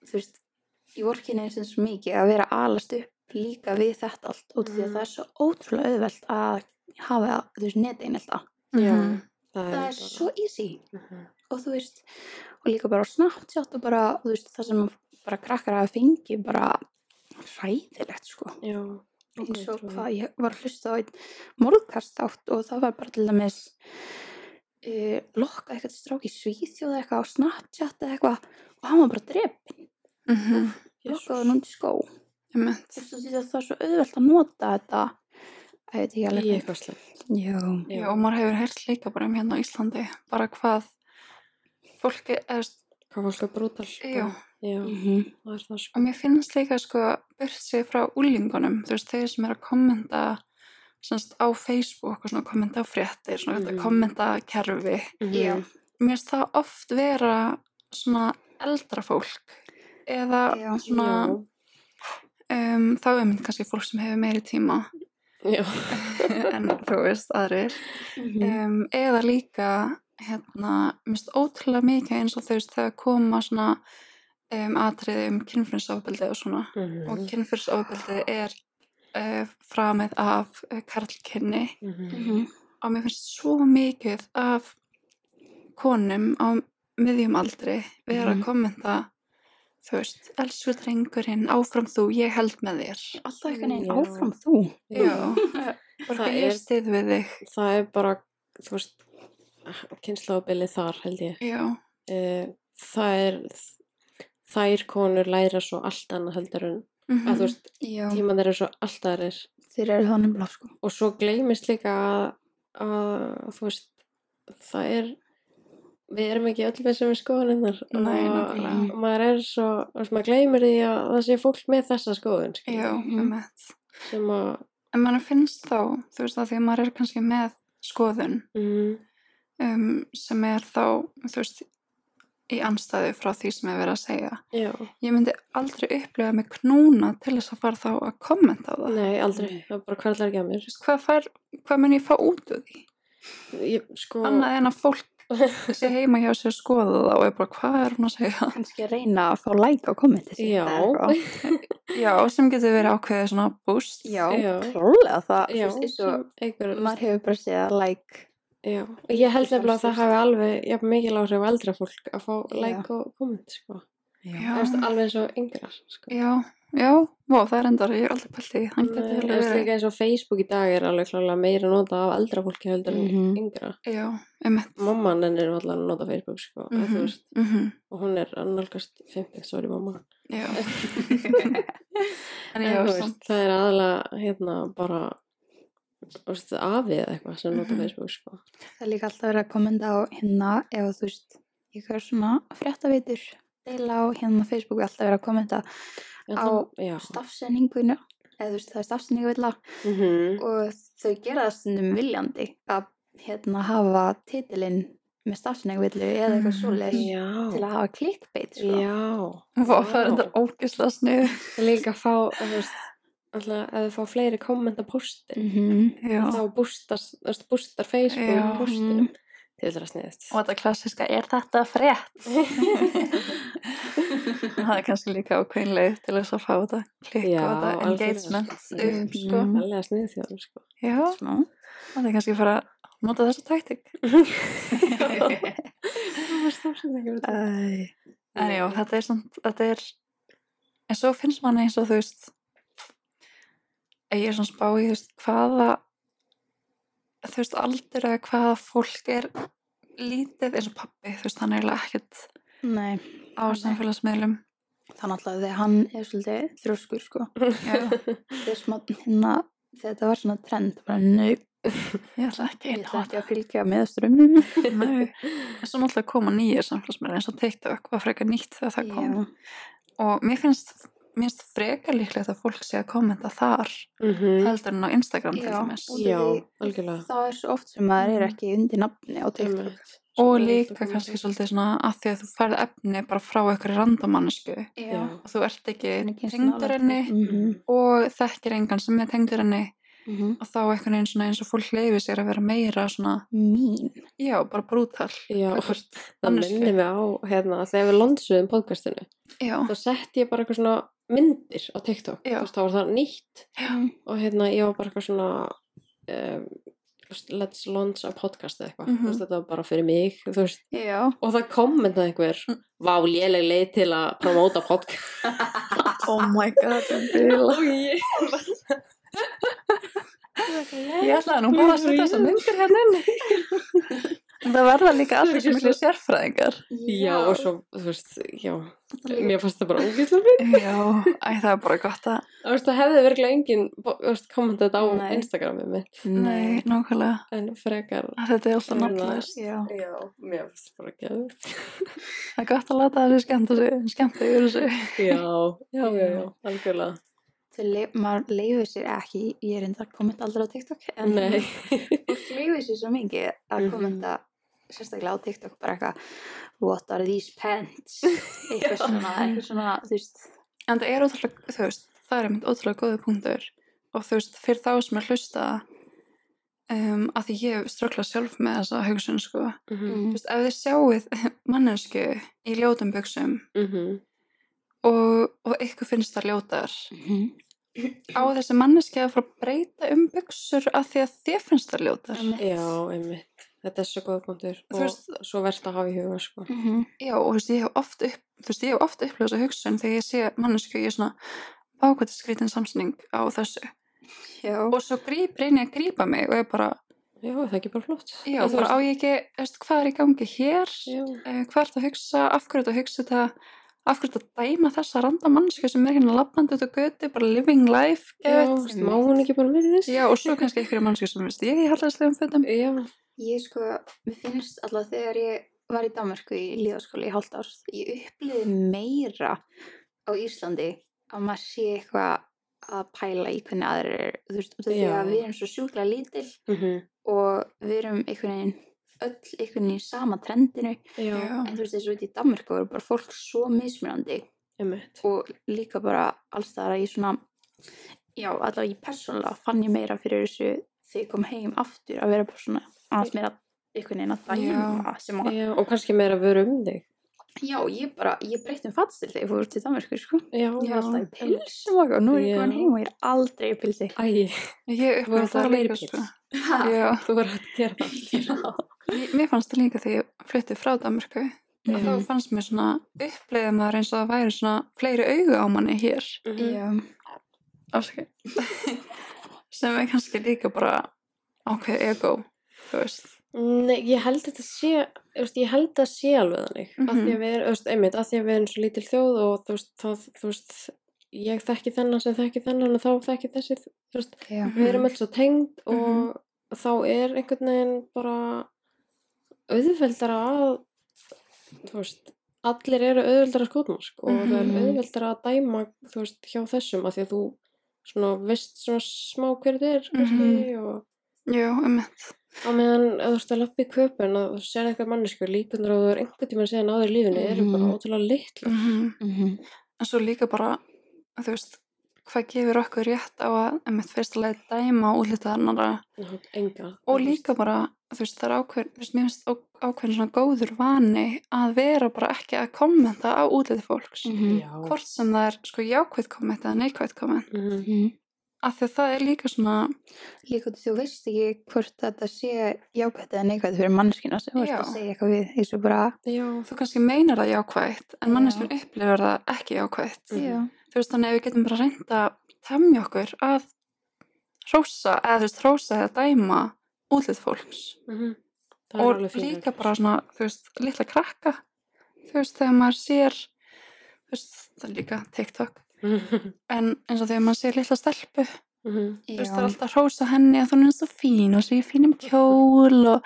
Speaker 3: þú veist, ég vorkinni eins og svo mikið að vera að alast upp líka við þetta allt út af því að
Speaker 2: Mhm.
Speaker 3: það er svo ótrúlega auðvelt að hafa, þú veist, netein alltaf.
Speaker 2: Já,
Speaker 1: Mhm.
Speaker 2: það
Speaker 3: Það er svo easy
Speaker 2: Mhm.
Speaker 3: og þú veist, og líka bara á Snapchat og bara, þú veist, það sem bara krakkar að fengi bara hræðilegt, sko
Speaker 2: Já.
Speaker 3: eins og
Speaker 2: ógeðslega.
Speaker 3: hvað ég var að hlusta á einn morðkast átt og það var bara til dæmis uh, lokka eitthvað strák í Svíþjóð eða eitthvað á Snapchat eða eitthvað og hann var bara drepin,
Speaker 1: Mm -hmm.
Speaker 3: lokkaði hann undir skó þú
Speaker 1: Emmett.
Speaker 3: veist þú því að það er svo auðvelt að nota þetta að ég veit ekki
Speaker 2: Í
Speaker 3: alveg
Speaker 2: eitthvað slemt.
Speaker 3: já,
Speaker 1: Já, og maður hefur heyrt líka bara um hérna á Íslandi, bara hvað fólki er,
Speaker 2: Hvað fólk er brútal.
Speaker 1: já,
Speaker 2: Já,
Speaker 3: mm
Speaker 2: það er það
Speaker 1: og
Speaker 2: sko.
Speaker 1: mér finnst líka sko burt sig frá úlingunum, þú veist, þeir sem er að kommenta semst á Facebook og svona kommenta á fréttir, svona
Speaker 2: Mhm.
Speaker 1: mm. kommenta kerfi,
Speaker 3: já,
Speaker 1: mér finnst það oft vera svona eldra fólk eða
Speaker 3: Já.
Speaker 2: Mhm.
Speaker 1: svona um, þá er mynd kannski fólk sem hefur meiri tíma
Speaker 2: Já.
Speaker 1: en þú veist aðrir
Speaker 2: Mm.
Speaker 3: Mhm.
Speaker 1: um, eða líka hérna, mér finnst ótrúlega mikið eins og þú veist þegar koma svona um, atriði um kynfyrinsofbeldi og svona
Speaker 2: Mm.
Speaker 1: og kynfyrinsofbeldi er uh, framið af uh, karlkynni
Speaker 3: Mhm.
Speaker 1: og mér finnst svo mikið af konum á miðjum aldri vera
Speaker 2: Mm-hmm.
Speaker 1: að
Speaker 3: Mhm.
Speaker 1: kommenta þú veist, elsku drengurinn áfram þú, ég held með þér
Speaker 3: alltaf eitthvað neginn
Speaker 2: Já.
Speaker 3: áfram þú
Speaker 1: já,
Speaker 2: Það
Speaker 1: bara ég
Speaker 2: er-
Speaker 1: stið við þig
Speaker 2: Það er bara, þú veist, kynnslóðabilið þar held ég.
Speaker 1: já,
Speaker 2: Eh, Það er, þær konur læra svo allt annað heldur en,
Speaker 1: mm
Speaker 2: að þú veist,
Speaker 3: já,
Speaker 2: tíma þeir eru svo allt aðrir.
Speaker 3: þeir eru þannig blá sko
Speaker 2: Og svo gleymist líka að, að þú veist, það er, við erum ekki öll við sem við skoðaninnar.
Speaker 1: Nei,
Speaker 3: nákvæmlega.
Speaker 2: Og maður er svo, þú veist, maður gleymir því að það sé fólk með þessa skoðun, skilur.
Speaker 1: já,
Speaker 3: Mhm.
Speaker 1: um
Speaker 2: Sem að,
Speaker 1: en mann finnst þá, þú veist, að því að maður er kannski með skoðun
Speaker 2: mm,
Speaker 1: um, sem er þá, þú veist í anstæðu frá því sem er verið að segja
Speaker 2: já,
Speaker 1: ég myndi aldrei upplifa mig knúna til þess að fara þá að kommenta á það
Speaker 2: nei, aldrei. Það bara hvarlar ekki að mér.
Speaker 1: Þú veist, hvað, fær, hvað mun ég fá út úr því?
Speaker 2: Ég, sko,
Speaker 1: Annað en að fólk sé heima hjá sér að skoða það og er bara, hvað er hún að segja?
Speaker 3: kannski að reyna að fá like á kommenti sitt
Speaker 2: Já.
Speaker 3: eða eitthvað.
Speaker 1: Já, sem getur verið ákveðið svona búst.
Speaker 3: já,
Speaker 2: Já.
Speaker 3: klárlega það
Speaker 2: já,
Speaker 3: þú veist, eins og
Speaker 2: sem einhver,
Speaker 3: maður hefur bara séð að like
Speaker 2: já. Ég held
Speaker 3: Sem
Speaker 2: nefnilega að það
Speaker 3: styrst.
Speaker 2: hafi alveg, já, mikil áhrif á eldra fólk að fá like og komment, sko.
Speaker 1: Já,
Speaker 2: Það er alveg eins og yngrar, sko.
Speaker 1: já, já, vó, það er endar, ég er aldrei pælt í, því. hann
Speaker 2: Nei,
Speaker 1: getur
Speaker 2: Það er
Speaker 1: alveg verið.
Speaker 2: líka eins og Facebook í dag er alveg klálega meira nota af eldra fólki heldur en
Speaker 3: Mhm.
Speaker 2: yngra.
Speaker 1: Já, einmitt.
Speaker 2: Mamma hennar var allan að nota Facebook, sko, mm
Speaker 1: Mhm,
Speaker 2: veist,
Speaker 1: mhm,
Speaker 2: og hún er að nálgast 50, sorry mamma.
Speaker 1: Já. En
Speaker 2: En
Speaker 1: já,
Speaker 2: þú
Speaker 1: samt.
Speaker 2: veist, það er aðalega, hérna, bara, þú veist, afið eða eitthvað sem nota
Speaker 1: Mhm.
Speaker 2: Facebook, sko.
Speaker 3: Það er líka alltaf verið að kommenta á hérna ef þú veist, ég er svona fréttavitur, deila á hérna Facebooku alltaf verið að kommenta
Speaker 2: En
Speaker 3: Á
Speaker 2: það- já.
Speaker 3: stafsendinguna eða þú veist, það er stafsendingavilla
Speaker 2: Mhm.
Speaker 3: og þau gera það stundum viljandi að hérna hafa titilinn með stafsendingavillu eða eitthvað
Speaker 1: Mm,
Speaker 3: svoleiðis til
Speaker 2: Mhm. Já,
Speaker 3: að hafa clickbait sko.
Speaker 2: já.
Speaker 1: Vó, það er endar ógislega snið.
Speaker 2: líka fá þú veist, alltaf, ef þau fá fleiri komment á postin
Speaker 3: Mhm.
Speaker 1: Já,
Speaker 2: þá bústar, bústar Facebook
Speaker 1: Já. mm.
Speaker 2: í postinum til þess að sniðist.
Speaker 1: Og þetta klassiska, er þetta frétt? það er kannski líka ákveðinleið til þess að fá þetta klikk
Speaker 2: Já,
Speaker 1: og þetta
Speaker 2: algjörlega.
Speaker 1: engagement upp, sko.
Speaker 3: Mhm.
Speaker 2: Allega sniðið þjóðum, sko.
Speaker 1: Já,
Speaker 3: Smá.
Speaker 1: það er kannski bara að nota þessa taktik.
Speaker 2: Það var stafsinn ekki verið.
Speaker 1: Æ. En já, þetta er samt, þetta er, en svo finnst manni eins og þú veist, að ég er svona spá í þú veist hvaða, þú veist aldur eða hvaða fólk er lítið eins og pappi, þú veist, hann er eiginlega ekkert
Speaker 3: Nei,
Speaker 1: á
Speaker 3: Nei.
Speaker 1: samfélagsmiðlum.
Speaker 3: þannig alltaf þegar hann er svolítið þrjóskur sko.
Speaker 1: Já,
Speaker 3: Þegar smá hérna, þegar þetta var svona trend, bara nöp,
Speaker 1: ég ætla ekki
Speaker 3: ég
Speaker 1: inn á
Speaker 3: ætla
Speaker 1: þetta.
Speaker 3: ekki að fylgja með strömmum.
Speaker 1: Nei, en svo náttúrulega koma nýjir samfélagsmiðlar eins og TikTok var frekar nýtt þegar það kom
Speaker 3: Já,
Speaker 1: og mér finnst, mér finnst frekar líklegt að fólk sé að kommenta þar
Speaker 2: Mhm.
Speaker 1: heldur en á Instagram til
Speaker 3: Já.
Speaker 1: dæmis
Speaker 3: Og-
Speaker 2: Já, algjörlega.
Speaker 3: það er svo oft sem maður er ekki undir nafni á TikTok.
Speaker 2: Einmitt.
Speaker 1: og
Speaker 2: Svo
Speaker 1: líka
Speaker 2: komið
Speaker 1: kannski
Speaker 2: til.
Speaker 1: svolítið svona að því að þú færð efni bara frá einhverju randomannsku
Speaker 2: Já.
Speaker 1: og þú ert ekki
Speaker 3: Þannig kemst nálægt
Speaker 1: tengdur henni
Speaker 3: því. Mhm,
Speaker 1: og þekkir engan sem er tengdur henni
Speaker 3: mhm.
Speaker 1: og þá einhvern veginn svona eins og fólk leifi sér að vera meira svona,
Speaker 3: Mín.
Speaker 1: já, bara brútal
Speaker 2: Já,
Speaker 1: Gagnvart
Speaker 2: það
Speaker 1: manneskju.
Speaker 2: minnir mig á, hérna, þegar við landsuðum podcastinu,
Speaker 1: já,
Speaker 2: þá sett ég bara eitthvað svona myndir á TikTok,
Speaker 1: Já.
Speaker 2: þú veist, þá var það nýtt
Speaker 1: Já.
Speaker 3: Mhm.
Speaker 2: og hérna, ég var bara eitthvað svona um, þú veist, let's launch a podcast eða eitthvað,
Speaker 1: Mhm.
Speaker 2: þú veist, þetta var bara fyrir mig, þú veist,
Speaker 3: Já.
Speaker 2: og það kommentaði einhver,
Speaker 1: Mm.
Speaker 2: vá, léleg leið til að promóta podcast
Speaker 1: oh my god ég bila.
Speaker 2: og ég
Speaker 1: ég ætlaði nú bara að setja þess að myndir hérna inn En það verða líka allir sem miklu sérfræðingar
Speaker 2: Já, og svo, þú veist, já,
Speaker 3: líka-
Speaker 2: mér fannst það bara ógíslega fyrir.
Speaker 1: já, æ, það er bara gott að
Speaker 2: Þú veist, það hefði virkilega enginn, þú veist, kommentað á
Speaker 3: Nei.
Speaker 2: Instagramið mitt,
Speaker 1: nei, nákvæmlega,
Speaker 2: en frekar
Speaker 1: þetta er alltaf
Speaker 2: Svona.
Speaker 1: náttúrulega
Speaker 3: Já.
Speaker 2: Já, mér finnst bara ekki að
Speaker 1: Það er gott að láta þessu skemmta sig, skemmta yfir þessu.
Speaker 2: Já, já, já,
Speaker 3: Já.
Speaker 2: já, algjörlega.
Speaker 3: Þau leif, maður leifir sér ekki, ég er enda að kommenta aldrei á TikTok, en
Speaker 2: Nei,
Speaker 3: fólk leifir sér svo mikið að
Speaker 2: Mhm.
Speaker 3: kommenta sérstaklega á TikTok bara eitthvað what are these pants eitthvað
Speaker 2: Já.
Speaker 3: svona, eitthvað svona þú veist,
Speaker 1: En það er ótrúlega, þú veist, það er einmitt ótrúlega góði punktur og þú veist, fyrir þá sem er hlusta um, að því ég strökla sjálf með þessa hugsun, sko. Þú veist, ef þið sjáuð mannesku í ljótum buksum
Speaker 2: Mhm.
Speaker 1: og, og ykkur finnst það ljótar,
Speaker 3: Mhm.
Speaker 1: á þessi manneski að fara að breyta um buksur að því að þið finnst það ljótar.
Speaker 3: Einmitt.
Speaker 2: já, einmitt. Þetta er svo góð punktur
Speaker 1: Þú
Speaker 2: og
Speaker 1: veist-
Speaker 2: svo verðt að hafa í huga, sko.
Speaker 3: Mhm.
Speaker 1: Já, og þú veist, ég hef oft, upp, þú veist, ég hef oft upplöðað þessu hugsun þegar ég sé mannesku, ég er svona, ákvæmt skrítin samsning á þessu.
Speaker 3: já,
Speaker 1: og svo gríp, reynir að grípa mig og ég bara,
Speaker 2: Já, það er ekki bara flott.
Speaker 1: já,
Speaker 2: En þú
Speaker 1: bara á ég ekki veist, hvað er í gangi hér
Speaker 2: Já,
Speaker 1: Eh, hvað er það að hugsa, af hverju þetta að hugsa þetta af hverju þetta að dæma þessa randamannsku sem er hérna lappandi út á götu bara living life,
Speaker 2: já,
Speaker 1: geðveikt.
Speaker 2: þú veist, má hún ekki bara verið þess?
Speaker 1: já, og svo kannski einhverju mannsku sem veist, ég er í hallæðislegum fötum
Speaker 2: Já,
Speaker 3: ég sko mér finnst alltaf þegar ég var í Danmarku í líðaskóli í hálft árs ég upplýði meira á Íslandi að maður sé eitthvað að pæla í hvernig aðrir eru, þú veist, út af því
Speaker 2: Já.
Speaker 3: að við erum svo sjúkla lítil
Speaker 2: Mhm.
Speaker 3: og við erum einhvern veginn öll einhvern veginn í sama trendinu
Speaker 2: já,
Speaker 1: já,
Speaker 3: en þú veist þessu út í Danmarku voru bara fólk svo mismunandi
Speaker 2: einmitt.
Speaker 3: og líka bara allstaðar að ég svona já, allavega ég persónulega fann ég meira fyrir þessu þegar ég kom heim aftur að vera bara svona aðeins meira einhvern veginn að dæma sem að,
Speaker 2: Já, og kannski meira að vera um þig.
Speaker 3: já, ég bara ég breytti um fattstil þegar ég fór til Danmarku sko.
Speaker 2: Já,
Speaker 3: ég
Speaker 1: Já.
Speaker 3: var alltaf í pilsum og eitthvað, nú er
Speaker 2: Já.
Speaker 3: ég komin heim og ég er aldrei í pilsi
Speaker 2: Æ,
Speaker 1: ég
Speaker 2: Þú voru
Speaker 1: upplöði það
Speaker 2: bara meiri
Speaker 1: líka
Speaker 2: pils.
Speaker 1: sko.
Speaker 3: Ah.
Speaker 1: já,
Speaker 2: þú verður að gera það.
Speaker 1: mér mér fannst það líka þegar ég flutti frá Danmarku að þá
Speaker 3: Mhm.
Speaker 1: fannst mér svona uppleiði maður eins og það væri svona fleiri augu á manni hér
Speaker 2: Mhm.
Speaker 3: já,
Speaker 1: afsakið sem er kannski líka bara ákveð ego þú veist
Speaker 2: Nei, ég held þetta sé, þú veist, ég held það sé alveg þannig, mm að því
Speaker 1: Mhm.
Speaker 2: að við erum, þú veist, einmitt, að því að við erum svo lítil þjóð og þú veist, það, þú veist, ég þekki þennan sem þekki þennan og þá þekki þessi, þú veist,
Speaker 3: já,
Speaker 2: við erum alls svo tengd og
Speaker 1: Mhm.
Speaker 2: þá er einhvern veginn bara auðveldara að, þú veist, allir eru auðveldara skotmark og það
Speaker 1: Mhm.
Speaker 2: er auðveldara að dæma, þú veist, hjá þessum að því að þú svona veist svona smá hverju þetta er, kannski,
Speaker 1: Mhm.
Speaker 2: og...
Speaker 1: Jú, emmitt.
Speaker 2: á meðan að þú ert að lappa í köpun og þú sér eitthvað mannesku líkunar og þú er einhvern tímann síðan áður í lífinu eru bara
Speaker 3: Mhm.
Speaker 2: ótrúlega litla
Speaker 1: Mm
Speaker 3: Mhm.
Speaker 1: En svo líka bara, þú veist, hvað gefur okkur rétt á að einmitt fyrst að leið dæma útlitað annara
Speaker 2: enga
Speaker 1: og líka bara, þú veist, það er ákveðin, þú veist, mér finnst ó- ákveðin svona góður vani að vera bara ekki að kommenta á útlitið fólks.
Speaker 3: Mhm.
Speaker 2: Já.
Speaker 1: Hvort sem það er sko jákvæð komment eða neikvæð komment.
Speaker 2: Mhm.
Speaker 3: Mhm.
Speaker 1: Af því að það er líka svona,
Speaker 3: Líka þú veist ekki hvort þetta sé jákvætt eða neikvætt fyrir manneskina sem þú ert að
Speaker 1: Já.
Speaker 3: segja eitthvað við eins og bara
Speaker 2: já,
Speaker 1: þú kannski meinar það jákvætt en manneskjum upplifir það ekki jákvætt.
Speaker 2: Mhm.
Speaker 3: Já,
Speaker 1: þú veist þannig að við getum bara reynda að temja okkur að hrósa eða þú veist hrósa eða dæma útlið fólks
Speaker 2: mhm. Það er
Speaker 1: og
Speaker 2: alveg fín
Speaker 1: líka
Speaker 2: regla.
Speaker 1: bara svona þú veist litla krakka þú veist þegar maður sér þú veist það er líka TikTok
Speaker 2: Mhm.
Speaker 1: en eins og þegar maður sér litla stelpu
Speaker 2: Mhm.
Speaker 1: þú veist það
Speaker 3: já.
Speaker 1: er alltaf að hrósa henni að hún er svo fín og svo í fínum kjól og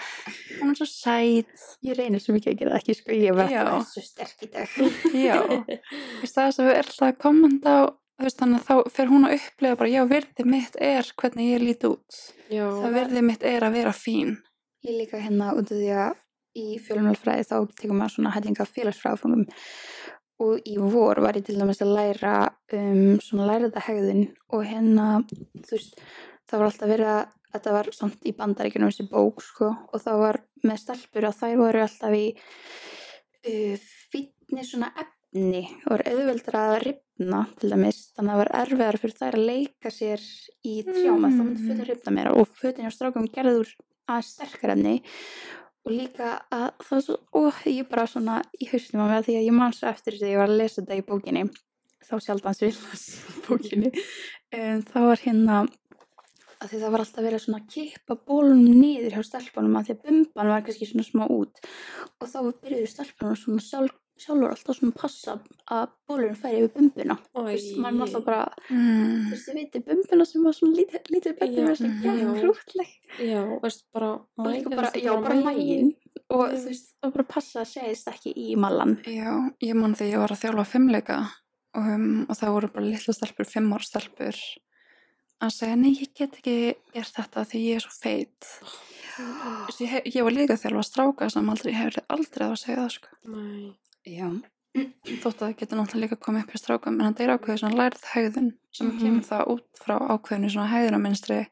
Speaker 1: hún er svo sæt
Speaker 3: Ég reynir svo mikið að gera það ekki sko, ég var
Speaker 1: Já.
Speaker 3: alltaf svo sterk í dag.
Speaker 1: já í staðis að við erum alltaf að kommenta á þú veist þannig að þá fer hún að upplifa bara já verðið mitt er hvernig ég líti út
Speaker 2: já,
Speaker 1: Það verðið mitt er að vera fín.
Speaker 3: Ég líka hérna út af því að í fjölumálfræði þá tekum maður svona hellinga félagsfráfungum og í vor var ég til dæmis að læra um, svona læraða hegðun og hérna, þú veist, það var alltaf verið að þetta var samt í bandaríkjunum þessi bók sko og það var með stelpur að þær voru alltaf í uh, fínni svona efni og var auðveldar að ripna til dæmis, þannig að það var erfiðar fyrir þær að leika sér í trjáma mm. þá myndi
Speaker 1: Mm.
Speaker 3: fötin ripna meira og fötin hjá strákum gerður að sterkar efni og líka að það var svo, ó, ég bara svona í hausnum á mig að því að ég man svo eftir því að ég var að lesa þetta í bókinni þá sjaldan sem ég las bókinni um, það var hérna að því það var alltaf verið svona að kippa bólunum niður hjá stelpunum að því að bumban var kannski svona smá út og þá byrjuðu stelpunum svona sjálf, sjálfur alltaf svona að passa að bólunum færi yfir bumbuna
Speaker 2: Oj.
Speaker 3: Þú veist, maður er alltaf bara, þú
Speaker 1: Mm.
Speaker 3: veist, þið veitir bumbuna sem var svona lítið, lítið
Speaker 2: Já.
Speaker 3: bættir með þess
Speaker 1: Mhm.
Speaker 3: að gera krútleg
Speaker 2: já, veist bara
Speaker 3: og líka bara,
Speaker 2: veist,
Speaker 3: já, bara mægin og
Speaker 2: Já.
Speaker 3: þú veist, og bara passa að segist ekki í mallan
Speaker 1: Já, ég man þegar ég var að þjálfa fimmleika um, og það voru bara litla stelpur, fimm ára stelpur að segja, nei, ég get ekki gert þetta því ég er svo feit. Þú veist, Ég, hef- ég var líka að þjálfa stráka sem aldrei hefur aldrei að segja það, sko.
Speaker 2: Nei.
Speaker 3: já,
Speaker 1: Þótt að það getur náttúrulega líka komið upp í strákum en þetta er ákveðið svona lærið hegðun sem
Speaker 3: Mhm.
Speaker 1: kemur það út frá ákveðinu svona hegðunaminstri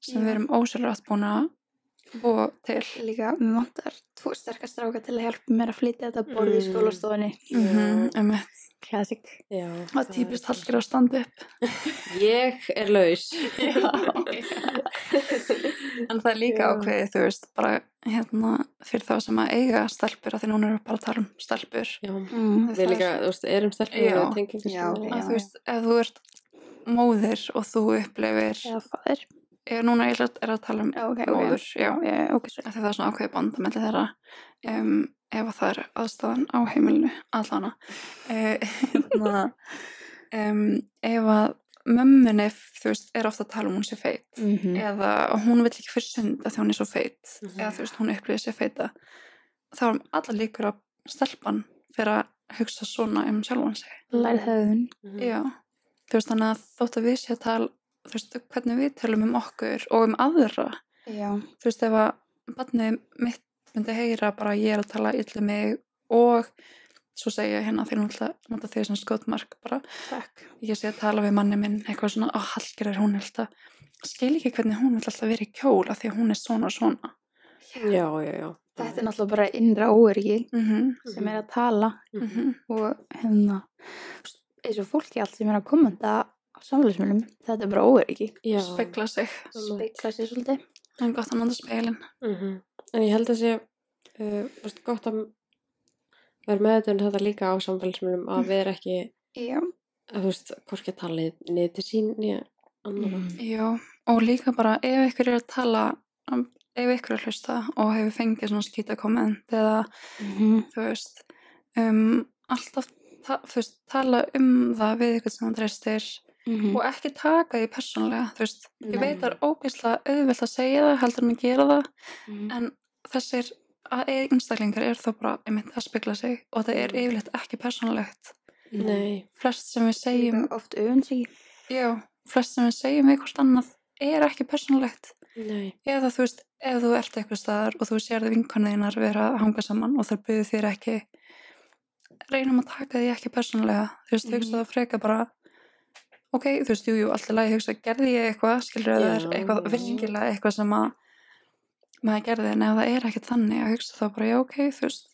Speaker 1: sem
Speaker 3: Já.
Speaker 1: við erum ósjálfrátt búin að búa til.
Speaker 3: líka, mér vantar tvo sterkast stráka til að hjálpa mér að flytja þetta borð í
Speaker 2: Mm.
Speaker 3: skólastofunni
Speaker 1: Mm -hmm,
Speaker 3: classic
Speaker 2: Já,
Speaker 1: Það
Speaker 2: það
Speaker 1: er
Speaker 2: er
Speaker 1: típist
Speaker 2: bara-
Speaker 1: halkir að standa upp.
Speaker 2: Ég er laus
Speaker 1: En það er líka
Speaker 2: Já.
Speaker 1: ákveðið, þú veist, bara hérna fyrir þá sem að eiga stelpur að því núna erum við bara að tala um stelpur.
Speaker 2: Já,
Speaker 3: mm.
Speaker 1: Það
Speaker 2: við
Speaker 1: er
Speaker 2: líka, þú veist, erum stelpum
Speaker 1: Já.
Speaker 2: við tengingar
Speaker 3: Já,
Speaker 2: sem-
Speaker 1: Að
Speaker 3: já.
Speaker 1: þú veist, ef þú ert móðir og þú upplifir,
Speaker 3: eða fadir
Speaker 1: ég, núna ég er að tala um
Speaker 3: Já, ok, ok.
Speaker 1: móður, já,
Speaker 3: já, já, ok, svo
Speaker 1: af því það er svona ákveðið band að melli þeirra um, ef að það er aðstæðan á heimilinu, allana. Uh, hérna, um, ef að mömmunni, þú veist, er ofta að tala um hún sé feit.
Speaker 3: mm -hmm.
Speaker 1: eða hún vill ekki fyrir sund að því hún er svo feit
Speaker 2: Mhm.
Speaker 1: eða þú veist, hún upplýðir sér feita þá erum allar líkur að stelpan fyrir að hugsa svona um sjálfan sig
Speaker 3: lærið höfðun
Speaker 2: Mhm.
Speaker 1: já, þú veist, þannig að þótt að við sé að tala þú veist, hvernig við tölum um okkur og um aðra,
Speaker 3: já,
Speaker 1: þú veist, ef að barnið mitt myndi heyra bara ég er að tala yllu mig og svo segja ég hérna þegar hún ætla að nota þau sem skotmark bara,
Speaker 3: takk
Speaker 1: ég sé að tala við manni minn eitthvað svona, á hallgerður hún er alltaf skil ekki hvernig hún vil alltaf vera í kjól af því að hún er svona og svona
Speaker 2: Já, já, já
Speaker 3: þetta er náttúrulega bara innra óöryggi
Speaker 1: mm -hmm.
Speaker 2: Mhm.
Speaker 3: sem er að tala
Speaker 1: Mm
Speaker 3: mhm. og hérna eins og fólki allt sem er að kommenta á samfélagsmiðlum, þetta er bara óöryggi
Speaker 2: Já,
Speaker 1: spekla sig
Speaker 3: speikla sér svolítið
Speaker 1: en gott að nanda speilin
Speaker 2: mhm. En ég held að sé uh, veist, gott að vera meðutun þetta líka á samfélagsmyndum að vera ekki,
Speaker 3: já,
Speaker 2: að þú veist, hvorki að tala niður til sín nýja annara
Speaker 1: Jó, og líka bara ef ykkur er að tala um, ef ykkur er að hlusta og hefur fengið svona skýta komment eða
Speaker 3: Mhm.
Speaker 1: þú veist um, alltaf ta þú veist, tala um það við ykkur sem hann treystir
Speaker 3: Mhm.
Speaker 1: og ekki taka því persónlega þú veist, ég
Speaker 3: Nei.
Speaker 1: veit að það er ógeðslega auðvelt að segja það heldur en að gera það
Speaker 3: Mhm.
Speaker 1: en þessir að einstaklingar er þá bara einmitt að spegla sig og það er yfirleitt ekki persónulegt
Speaker 2: Nei,
Speaker 1: flest sem við segjum
Speaker 3: Líka oft öfundsíki
Speaker 1: já, flest sem við segjum við hvort annað er ekki persónulegt
Speaker 2: nei,
Speaker 1: eða þú veist, ef þú ert eitthvað staðar og þú sérði vinkoneinar vera að hanga saman og þar byggðu þér ekki reynum að taka því ekki persónulega þú veist,
Speaker 3: Mhm.
Speaker 1: hugsa það freka bara ok, þú veist, jú, jú, alltaf lagi hugsa, gerði ég eitthvað, skilur það er
Speaker 2: Já.
Speaker 1: eitthvað virkilega, eitthvað sem að maður gerði, en ef það er ekkert þannig að hugsa þá bara, já, ok, þú veist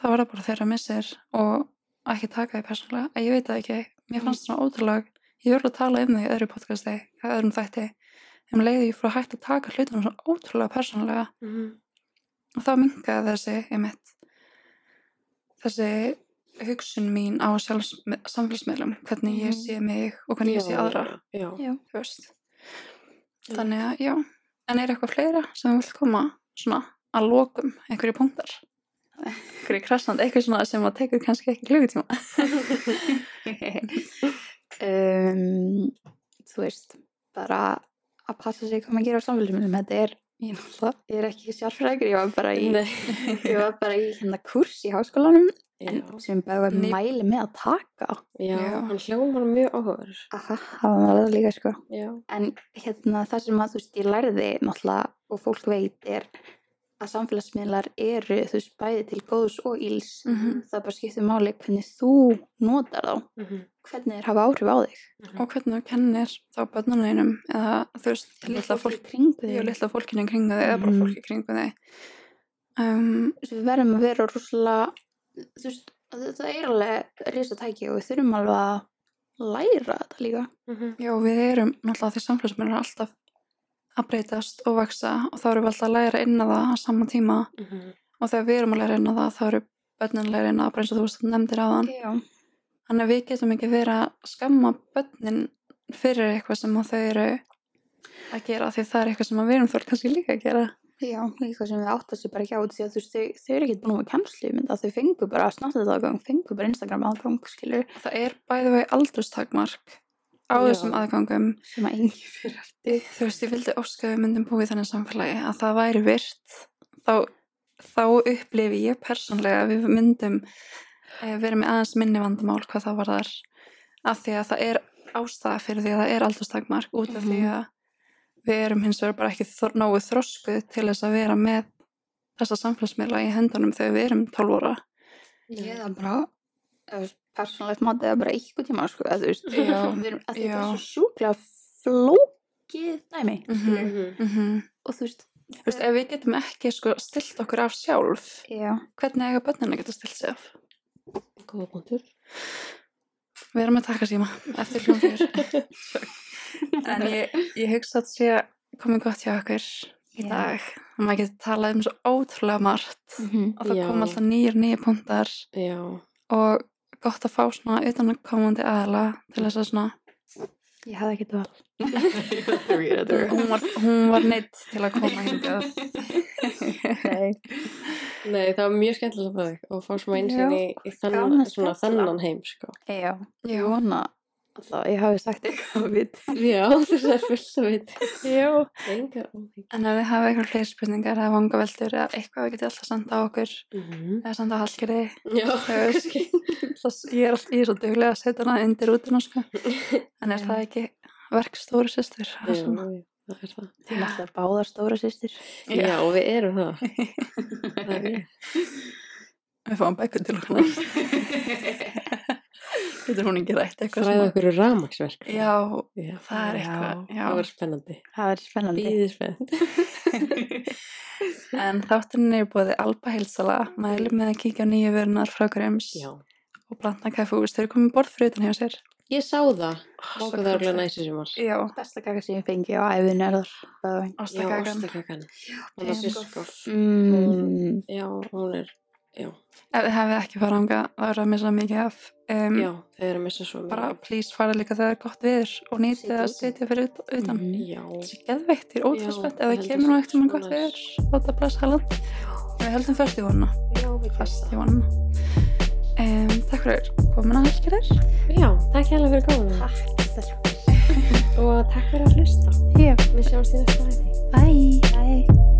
Speaker 1: þá er það bara þeirra missir og ekki taka því persónulega, að ég veit það ekki mér fannst svona ótrúlega, ég verður að tala um því í öðru podcasti, eða öðrum þætti en um leiði ég fór að hægt að taka hlutum svona ótrúlega persónulega
Speaker 2: Mhm.
Speaker 1: og þá mingaði þessi einmitt, þessi hugsun mín á sjálfs, samfélagsmiðlum hvernig ég
Speaker 3: Mhm.
Speaker 1: sé mig og hvernig ég sé aðra
Speaker 2: Já,
Speaker 3: Já.
Speaker 1: þú veist. þannig að já en er eitthvað fleira sem þú vilt koma svona að lokum einhverju punktar einhverju krassand, eitthvað svona sem að tekur kannski ekki klukkutíma
Speaker 3: um, þú veist, bara að passa sig hvað maður gerir á samfélagsmiðlum þetta er, ég náttúrulega, ég er ekki sjálfrækir ég var bara í,
Speaker 2: Nei.
Speaker 3: ég var bara í hérna kurs í háskólanum en,
Speaker 2: já,
Speaker 3: sem bara
Speaker 1: Ný-
Speaker 3: mæli með að taka
Speaker 2: já,
Speaker 1: Já.
Speaker 2: hann hljómar mjög áhugaður.
Speaker 3: aha, það var það líka sko
Speaker 2: Já,
Speaker 3: en hérna það sem að þú veist ég lærði náttúrulega og fólk veit er að samfélagsmiðlar eru þú veist bæði til góðs og íls
Speaker 1: Mhm.
Speaker 3: það bara skiptir máli hvernig þú notar þá,
Speaker 2: Mhm.
Speaker 3: hvernig þeir hafa áhrif á þig
Speaker 1: og hvernig þú kennir þá bönnunum eða þú veist, litla fólk
Speaker 3: í kringu
Speaker 1: ég
Speaker 3: þig.
Speaker 1: og litla fólkinu í kringu þig eða bara
Speaker 3: Mhm.
Speaker 1: fólki í kringu þig um,
Speaker 3: Þú veist, við verðum að vera rosalega þú veist, það það er alveg risa tæki og við þurfum alveg að læra þetta líka
Speaker 2: Mhm.
Speaker 1: já, við erum náttúrulega því samfélagsmiðlum er alltaf að breytast og vaksa og þá erum við alltaf að læra inn að það á sama tíma
Speaker 2: Mhm.
Speaker 1: og þegar við erum að læra inn að það þá eru börnin að læra inn að það bara eins og þú veist nefndir á þann
Speaker 3: já,
Speaker 1: þannig að við getum ekki verið að skamma börnin fyrir eitthvað sem að þau eru að gera því það er eitthvað sem að við erum þótt kannski líka að gera
Speaker 3: já, líka sem við áttar sér bara ekki á því að þú veist, þau, þau eru ekkert búin að kemslu mynd að þau fengu bara snartið aðgang fengu bara Instagram aðgang, skilur
Speaker 1: það er bæði vegi aldurstakmark á
Speaker 2: Já.
Speaker 1: þessum aðgangum
Speaker 3: sem að engi fyrir eftir
Speaker 1: þú veist, ég vildi óska að við myndum búið þannig samfélagi að það væri virt þá, þá upplifi ég persónlega að við myndum eh, verið með aðeins minni vandamál hvað það var þar af því að það er ástæða fyrir því að það er aldurstakmark út af því
Speaker 3: Mhm.
Speaker 1: að við erum hins vegar bara ekki þor, nógu þroskuð til þess að vera með þessa samfélagsmiðla í hendunum þegar við erum 12 óra
Speaker 3: ég er það bara þú veist, persónlegt mat eða bara eitthvað tíma sko, að þú veist,
Speaker 1: Já,
Speaker 3: við erum að þetta
Speaker 1: já.
Speaker 3: er svo sjúklega flókið dæmi skilurðu.
Speaker 2: Mhm.
Speaker 1: mm
Speaker 3: og þú veist,
Speaker 1: Þú veist, ef við getum ekki sko stilt okkur af sjálf
Speaker 3: já,
Speaker 1: hvernig eiga börnina geta stilt sig af?
Speaker 2: Góða punktur.
Speaker 1: Við erum að taka síma eftir hljóðir. en ég, ég hugsa að sé komið gott hjá okkur í
Speaker 3: Já.
Speaker 1: dag. Og maður getur talað um svo ótrúlega margt
Speaker 3: mm -hmm.
Speaker 1: og það
Speaker 2: Já.
Speaker 1: kom alltaf nýjur nýjur punktar
Speaker 2: Já,
Speaker 1: og gott að fá svona utanakomandi aðla til þess að svona
Speaker 3: ég hefði ekki það
Speaker 1: hún var, hún var neitt til að koma hingað
Speaker 3: Nei.
Speaker 2: nei, það var mjög skemmtilega með þig og fá smá einsinn í, í
Speaker 3: gaman
Speaker 2: þann,
Speaker 3: að
Speaker 2: svona
Speaker 3: spjalla.
Speaker 2: þennan heim, sko.
Speaker 3: Já,
Speaker 1: Já.
Speaker 3: ég vona að það, ég hafi sagt eitthvað við.
Speaker 2: Já, þess að fullt að veit. Já. Engar óþýtt.
Speaker 1: en ef þið hafa eitthvað fleiri spurningar eða vangaveldur eða eitthvað við getið alltaf senda á okkur eða senda á Hallgerði
Speaker 2: Já,
Speaker 1: kannski. Það- ég er, all- ég er svo duglega að setja hana undir útina sko. en er
Speaker 3: Já.
Speaker 1: það ekki verkstóru sýstur
Speaker 2: Já, já, það er það.
Speaker 3: Þið náttúrulega báðar stóra sýstir.
Speaker 1: Já.
Speaker 2: Já, og við erum það. það er ég.
Speaker 1: við fáum bækur til okkar næst. getur hún ekki rætt eitthvað
Speaker 2: Fræða
Speaker 1: svona?
Speaker 2: okkur úr rafmaksverk.
Speaker 1: já,
Speaker 2: Já,
Speaker 1: það er eitthvað, já.
Speaker 2: Það var spennandi.
Speaker 3: Það er spennandi.
Speaker 2: Býðið spennt.
Speaker 1: en þátturinn er búið Alba Hilsala, mælum með að kíkja á nýju vörunar frá Grims
Speaker 2: Já.
Speaker 1: og Blanda Kaffús, þau eru komið borð fyrir utan hjá sér
Speaker 2: Ég sá það.
Speaker 1: Ó, svo
Speaker 2: Móka það
Speaker 1: kósí.
Speaker 2: örgulega næsi sem var.
Speaker 1: já,
Speaker 3: Besta kaka sem ég fengi á æfun er þar. bæðvæng.
Speaker 2: Já,
Speaker 1: ostakakan
Speaker 2: ostakakan. Hún var
Speaker 1: tegum
Speaker 2: sérskof.
Speaker 3: Mm.
Speaker 2: Já, hún er, já,
Speaker 1: ef þið hefði ekki farað ánga, það eru að missa mikið af um,
Speaker 2: já, þau eru að missa svo mjög.
Speaker 1: bara please fara líka þegar það er gott viður og nýtið
Speaker 3: Sitja
Speaker 1: að
Speaker 3: úti.
Speaker 1: sitja fyrir ut- utan.
Speaker 3: Mhm.
Speaker 2: Já,
Speaker 1: Það er geðveikt, ég er
Speaker 2: Já,
Speaker 1: ótrúlega spennt. Ef það
Speaker 2: ég held
Speaker 1: kemur
Speaker 2: að
Speaker 1: nú eftir með
Speaker 2: svo
Speaker 1: gott
Speaker 2: næs.
Speaker 1: viður, láta blessa land. Við höldum fyrst í vonuna.
Speaker 2: já, við
Speaker 1: Fast í
Speaker 2: það.
Speaker 1: vonuna. Um, takk fyrir komin að helgir þér.
Speaker 2: Já, takk hérlega fyrir góðan
Speaker 3: Takk, þess.
Speaker 2: og takk fyrir að hlusta.
Speaker 3: Já.
Speaker 2: Við sjáumst í næsta hætti.
Speaker 3: Bye. Bye.